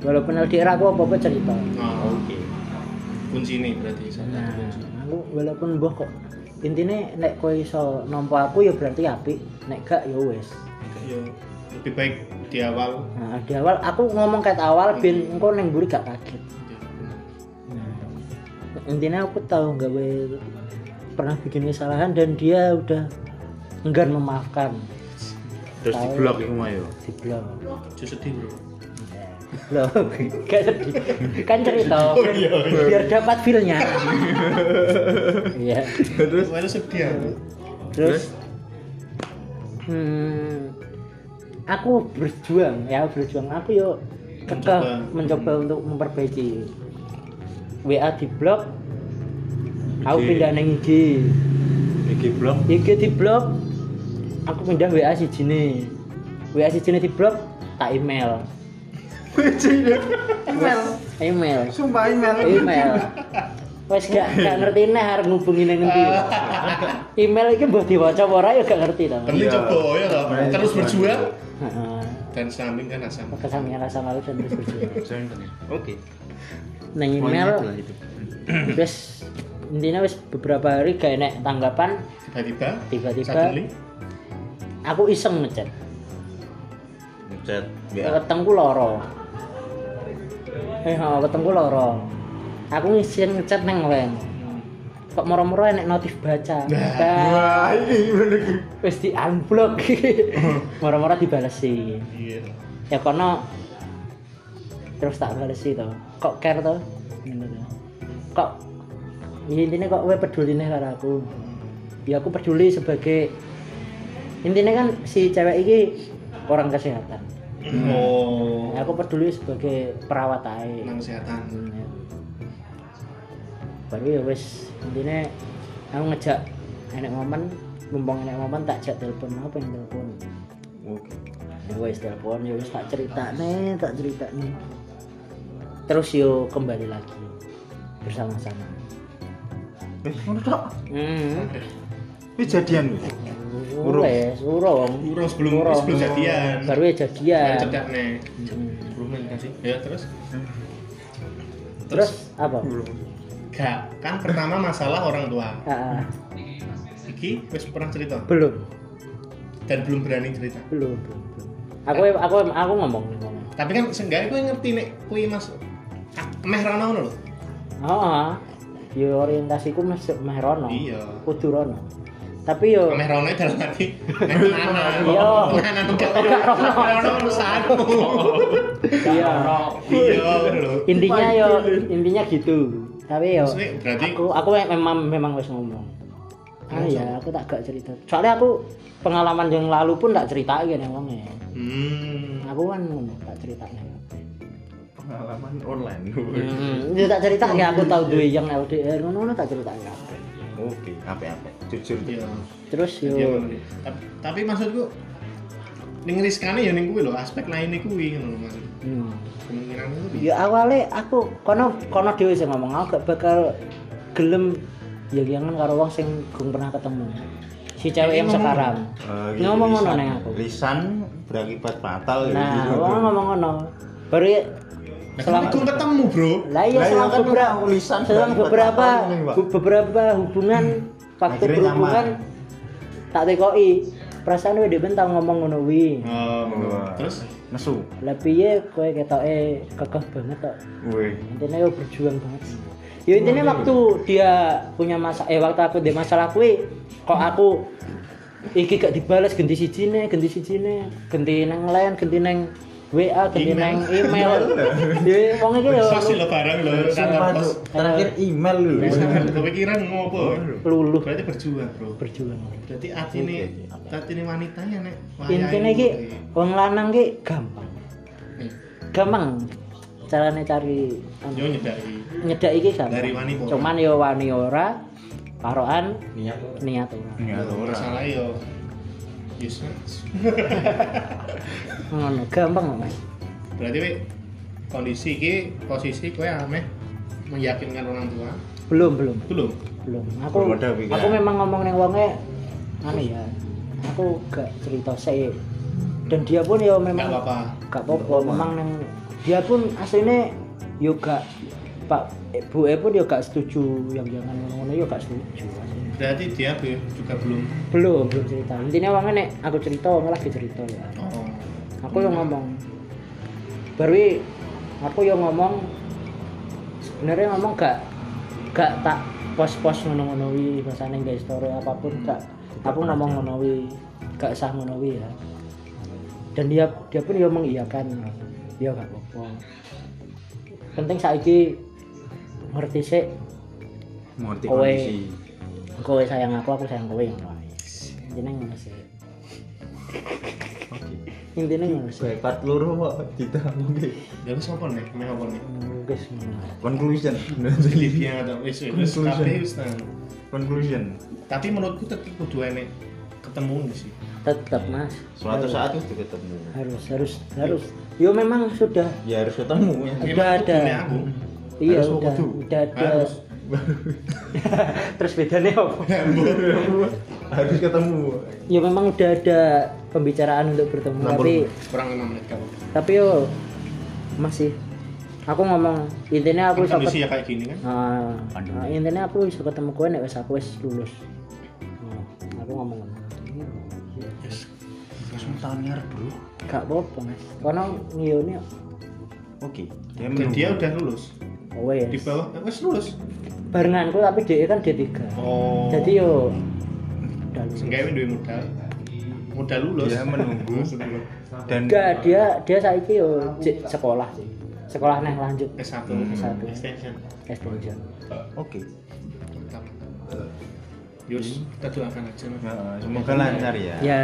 S3: walaupun LDR aku apa apa cerita
S2: Nah,
S1: oke
S2: kunci ini berarti salah
S3: nah
S2: satu kunci.
S3: aku walaupun mbok kok intinya nek kowe iso nompo aku ya berarti apik nek gak ya wes
S2: Ya, lebih baik di awal.
S3: nah di awal aku ngomong kayak awal ben engko neng buri gak kaget Nah, intinya aku tahu nggak gue pernah bikin kesalahan dan dia udah enggan memaafkan
S1: terus di blog iku mah yo
S3: di blog
S2: Justru sedih bro.
S3: Loh, gak sedih. Kan cerita. Biar dapat feel-nya. Iya.
S1: terus
S2: Gue sedih ya, aku.
S1: terus
S3: Terus hmm, aku berjuang ya berjuang aku yo kekeh
S2: Mencoba.
S3: mencoba, Hmm. untuk memperbaiki WA di blok aku
S1: Oke.
S3: pindah neng IG
S1: iki blok
S3: IG di blok aku pindah WA si Jini WA si Jini di blok tak email
S1: email
S3: email
S1: sumpah email
S3: email wes gak, gak ngerti nih harus ngubungin neng endi. email itu buat diwaca apa ora ya gak ngerti tau
S2: Penting
S1: Iya.
S2: coba ya lah.
S1: Iya.
S2: Terus berjuang
S3: Heeh.
S2: dan samping kan asam.
S3: maka sampe rasa malu dan terus berjuang
S1: oke
S3: neng
S1: Poinnya
S3: email
S1: adalah itu.
S3: wis intinya wis beberapa hari gak enek tanggapan
S2: Tiba-tiba.
S3: Tiba-tiba.
S2: suddenly,
S3: aku iseng ngechat
S1: ngechat
S3: yeah. ketengku loro eh oh, ketengku loro aku ngisin ngechat neng wen kok moro-moro enek notif baca Nah,
S1: wah ini bener iki
S3: wis di unblock moro-moro dibalesin
S2: Iya.
S3: ya kono terus tak balesi to kok care to Ngono to. kok ya intinya kok gue peduli nih karo aku ya aku peduli sebagai intinya kan si cewek ini orang kesehatan
S2: Oh.
S3: Ya, aku peduli sebagai perawat aja
S2: Nang kesehatan.
S3: Hmm, ya. baru ya wes intinya aku ngejak enek momen mumpung enek momen tak jak telepon apa yang telepon
S1: oke
S3: ya wis telepon ya wis tak cerita nih tak cerita nih terus yo kembali lagi bersama-sama
S1: wis Eh, ngono tok
S3: hmm
S1: wis jadian wis Urung.
S3: wes urung
S2: Urung sebelum sebelum jadian.
S3: ya, baru ya
S2: Kan
S3: jadian
S2: cedak nih.
S3: Hmm.
S2: Rumen kasih. Ya terus. Terus
S3: terus apa
S2: gak kan pertama masalah orang tua.
S3: Ah, ah.
S2: Iki wis pernah cerita
S3: belum
S2: dan belum berani cerita.
S3: belum belum belum. aku aku aku ngomong ngomong
S2: Tapi kan seenggaknya gue ngerti nek kui mas Ah, meh rano ngono lho.
S3: oh ah. yo orientasiku masuk merono
S2: Iya.
S3: kudu rono tapi yo
S2: Meh rano dalam hati. Meh rano.
S3: Iya.
S2: Nah, rano urusanmu.
S3: iya
S2: Iya ngono lho.
S3: intinya yo intinya gitu tapi yo
S2: Maksudnya berarti
S3: aku aku me- memang memang wis ngomong ah ya aku tak gak cerita soalnya aku pengalaman yang lalu pun tak cerita ya nang wong
S2: hmm.
S3: aku kan ngomong tak cerita
S1: pengalaman online
S3: hmm. dia tak cerita ya aku tahu duwe yang LDR ngono ngono tak cerita ya
S1: oke apa-apa jujur
S2: Iya.
S3: terus yo
S2: Iya, bener. Tapi- Tapi maksudku ning riskane ya ning kuwi lho, aspek lainnya kuwi ngono lho maksud.
S3: hmm.
S2: Kemungkinan kuwi.
S3: ya awalnya aku kono kono dhewe sing ngomong aku gak bakal gelem ya jangan karo wong sing gong pernah ketemu si cewek yang sekarang
S1: Ah, gitu,
S3: ngomong ngono neng aku
S1: Eh, Iya, lisan berakibat fatal
S3: Nah, wong
S1: iya.
S3: ngomong ngono. Baru ya
S2: Nah,
S3: selang
S2: kan ketemu, Bro.
S3: lah iya
S1: Lah,
S3: selang
S1: iya, kan
S3: beberapa
S1: aku lisan
S3: selang
S1: balik
S3: beberapa
S1: pertama ini, Mbak. Hmm.
S3: bu- beberapa hubungan waktu
S1: Akhirnya
S3: berhubungan
S1: nyaman.
S3: tak tekoi perasaan wede ben tau ngomong ngono wi
S2: Oh,
S1: Wah.
S2: terus
S1: nesu
S3: lah piye kowe ketoke kekeh banget tok
S1: weh
S3: intine yo berjuang banget ya intinya waktu dia punya masa eh waktu aku dia masalah kuwi kok aku iki gak dibales ganti siji ne ganti siji ne ganti nang lain ganti nang WA ganti
S2: Email.
S3: nang email ya wong iki lho
S2: Pasti lo barang lo
S1: Sumpah,
S2: kantor
S1: Cuk.
S2: pos.
S1: terakhir email lu
S2: Bisa kepikiran ngopo.
S3: luluh
S2: Berarti berjuang, Bro.
S3: berjuang
S2: Berarti hati ini hati ini wanita ya nek. wayahe
S3: intine iki
S2: kuwi.
S3: wong lanang iki gampang
S2: Nih,
S3: gampang carane cari
S2: Yo nyedaki.
S3: nyedak iki gampang
S2: Dari wani ora.
S3: cuman yo wani ora karoan
S5: niat
S3: niat ora
S1: Nggak tahu Ya, ora.
S2: Masalah yo. Yes.
S3: ngono gampang kok, Mas
S2: Berarti we kondisi iki posisi kowe ameh meyakinkan orang tua.
S3: belum belum
S2: Belum.
S3: belum aku
S1: Belum ada pikiran.
S3: aku memang ngomong neng wonge anu ya aku gak cerita saya dan dia pun ya
S2: Enggak
S3: memang
S2: apa-apa.
S3: gak apa-apa memang neng dia pun aslinya yo gak pak bu e pun yo gak setuju yang jangan ngono yo gak setuju aslinya.
S2: Berarti dia be- juga belum.
S3: belum belum cerita intinya wonge nek aku cerita wonge lagi cerita ya
S2: Oh.
S3: aku yang ngomong baru i- aku yang ngomong sebenarnya ngomong gak gak tak pos-pos ngono-ngonowi bahasane gak story apapun gak aku ngomong ngonowi gak sah ngonowi ya dan dia dia pun yang ya mengiyakan ya gak apa-apa penting saiki ngerti sih
S1: Ngerti
S3: Kowe.
S1: kondisi.
S3: kowe sayang aku aku sayang kowe ngono ae. intine ngono sih intine ngono sih
S1: Saya part loro kok ditanggung.
S2: Ya wis apa nih? Kami apa nih?
S3: wis ngono
S1: Conclusion.
S2: Olivia atau wis wis wis
S1: Conclusion.
S2: kabeh wis nang.
S1: Conclusion.
S2: Tapi menurutku tetep kudu enek ketemu nih sih.
S3: tetep mas
S1: Suatu
S3: Harus-
S1: saat itu ketemu.
S3: harus harus harus yo memang sudah
S1: Ya harus ketemu ya.
S3: Udah
S2: Memang
S3: ada.
S2: kudune aku.
S3: iya
S1: Harus
S3: udah
S1: wudhu.
S3: udah ada
S2: Harus.
S3: terus bedanya apa
S1: Harus ketemu.
S3: ya memang udah ada pembicaraan untuk bertemu tapi
S2: Kurang 5 menit kan. kamu.
S3: tapi yo masih aku ngomong intinya
S2: Kan
S3: aku bisa
S2: kondisi
S3: ket-
S2: ya kayak gini kan.
S3: Ah, ah, intinya aku bisa ketemu kowe nek wis aku wis lulus Oh, aku ngomong "Iya, ngono.
S1: Sultan ngarep, Bro.
S3: gak apa-apa mas karena ngiyone
S1: Oke.
S3: Ya,
S1: Dia
S2: Dan
S1: menunggu.
S2: dia udah lulus.
S3: kowe
S2: Di
S3: ya
S2: bawah eh, wis lulus.
S3: barenganku tapi dia kan D3
S2: Oh.
S3: jadi ya- yo udah lulus
S2: seenggaknya duwe modal. Modal lulus.
S3: Ya,
S1: Dia menunggu. dan
S3: Enggak, dia dia saiki yo jek sekolah sih. Sekolah neh lanjut
S2: S1
S3: S1.
S2: extension.
S3: S2.
S1: oke.
S2: Mantap.
S3: Hmm.
S2: Yus, kita doakan aja. Mas.
S1: Nah, semoga lancar ya.
S3: Ya,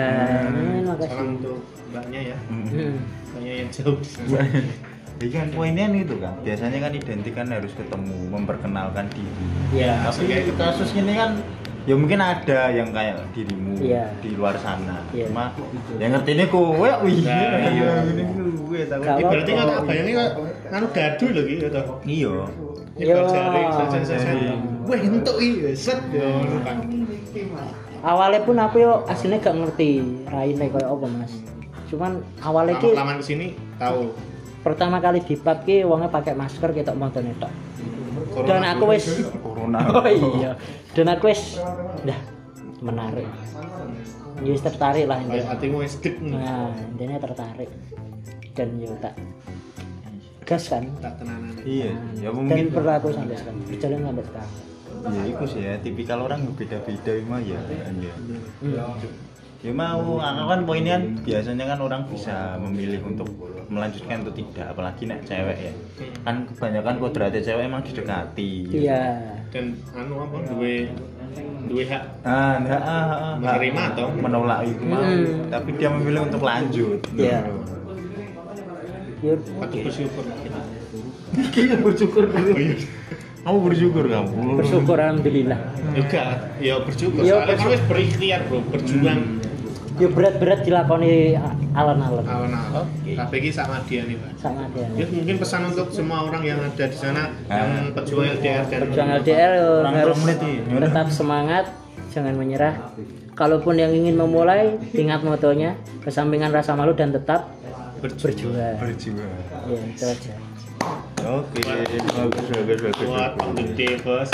S3: amin, makasih.
S2: Hmm, Salam untuk mbaknya ya.
S1: Hmm.
S3: Hmm.
S2: Mbaknya yang jauh di sana.
S1: Jadi kan poinnya nih itu kan, biasanya kan identik kan harus ketemu, memperkenalkan diri.
S3: Ya.
S1: Tapi kasus ini kan ya mungkin ada yang kayak dirimu
S3: Iya.
S1: di luar sana.
S3: Iya.
S1: Cuma yang ngerti ini kowe, wih,
S2: Nah, iya.
S1: ini kowe takut.
S3: Gak apa-apa.
S2: Berarti nggak tak
S3: iya.
S2: bayangin kok nganu dadu lho iki ya toh.
S1: Iya.
S2: Nyebar
S3: Yo.
S2: jari, sajen
S3: Iya,
S2: sajen. Weh entuk iki, set yo ngono kan.
S3: Awalnya pun aku yo aslinya gak ngerti raine koyo apa, Mas. Cuman awalnya ki
S2: Lama-lama ke sini tahu.
S3: pertama kali dipap ki wonge pakai masker ketok montone tok. Dan
S2: Corona
S3: aku wis
S1: Corona.
S3: Oh iya. Dan aku wis dah menarik. Ya wis tertarik lah
S2: Kayak
S3: intinya.
S2: hatimu wis dek nih,
S3: Nah, intinya tertarik. Dan yo tak gas kan.
S2: tak tenanan.
S1: Iya, ya
S3: dan
S1: mungkin
S3: berlaku sampai sekarang berjalan sampai sekarang
S1: ya itu sih ya, tipikal orang yang beda-beda emang ya. Iya. Ya mau, aku kan poinnya kan biasanya kan orang bisa memilih untuk melanjutkan atau tidak, apalagi nak cewek ya. Kan kebanyakan kodratnya cewek emang didekati.
S3: iya
S2: Dan anu apa duwe duwe hak
S1: Ah, enggak, ah, ah, ah.
S2: Menerima atau?
S1: menolak itu mau,
S3: Hmm.
S1: tapi dia memilih untuk lanjut.
S3: Iya. ya
S2: patut bersyukur lah gitu. kita.
S1: Iya bersyukur
S2: Oh,
S1: dulu. Kamu bersyukur kamu.
S3: bersyukur alhamdulillah
S2: Juga, ya bersyukur.
S3: Iya,
S2: Soalnya kan
S3: bersyukur.
S2: wis berikhtiar, Bro, berjuang
S3: ya berat-berat dilakoni a- alon-alon
S2: alon-alon. Tapi iki sama dia nih, Pak.
S3: sama dia
S2: Ya, mungkin pesan untuk semua orang yang ada di sana
S3: Ah.
S2: yang pejuang LDR dan
S3: berjuang LDR ya
S1: Orang
S3: harus
S1: tua menit ini.
S3: tetap semangat jangan menyerah kalaupun yang ingin memulai ingat motonya kesampingan rasa malu dan tetap berjuang
S1: Berjuang.
S3: ya itu aja
S1: Oke, bagus bagus bagus.
S2: buat Om Gede bos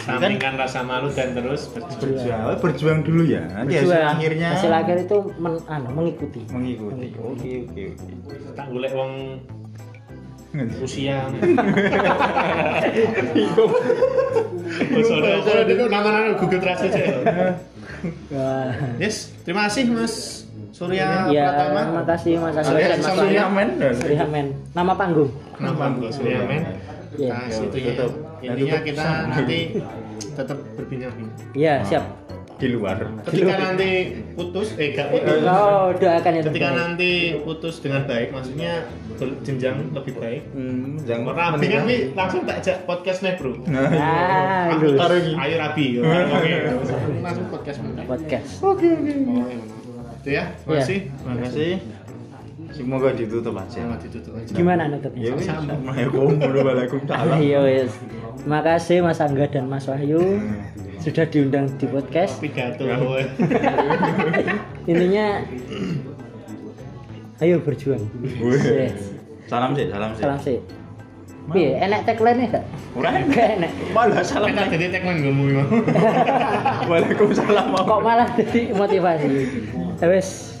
S2: sampaikan rasa malu dan terus berjuang
S1: Berjuang, Oh, berjuang dulu ya. Nanti hasil
S3: Berjuang.
S1: akhirnya
S3: hasil akhir itu men- anu, mengikuti
S1: mengikuti. Oke oke oke.
S2: tak golek wong usia Oh, sorry. Kalau dia tuh nama-nama Google Translate aja.
S3: Wah.
S2: Yes, terima kasih Mas Surya
S3: ya
S2: Pratama.
S3: terima kasih mas Asri
S2: Surya
S3: dan mas
S2: Samsurya.
S3: Surya.
S1: Amin.
S3: Surya men nama panggung
S2: Kenapa Mbak Surya men?
S3: Iya.
S2: Nah, situ ya.
S1: Tutup.
S2: Intinya
S1: Tutup.
S2: kita nanti tetap berbincang-bincang.
S3: ya siap
S1: Di luar.
S2: Ketika nanti putus, eh gak putus.
S3: oh doakan ya
S2: Ketika
S3: teman-teman.
S2: nanti putus dengan baik, maksudnya jenjang lebih baik.
S1: Hmm, jangan
S2: Rabi kan wi langsung tak jak podcast nih bro.
S1: Nah,
S3: ah
S2: Aku
S3: terus
S2: taruh ini. Ayo Rabi. yo. Oke. Langsung podcast nih.
S3: podcast
S2: Itu ya. Terima
S3: Iya.
S2: kasih.
S1: terima kasih. Semoga ditutup aja.
S2: Selamat ditutup aja.
S3: gimana
S1: Ya
S3: nutupnya
S1: wis. Ya, Assalamualaikum warahmatullahi wabarakatuh.
S3: iya wes terima kasih mas Angga dan mas Wahyu sudah diundang di podcast
S2: Pidato.
S3: intinya ayo berjuang
S1: Wih. Salam sih, salam sih.
S3: salam sih Piye, enak tagline nya gak?
S1: Murah.
S3: Gak enak
S1: Malah salam.
S2: Kita jadi tagline gue mau.
S1: Waalaikumsalam.
S3: Kok malah jadi motivasi Ya wes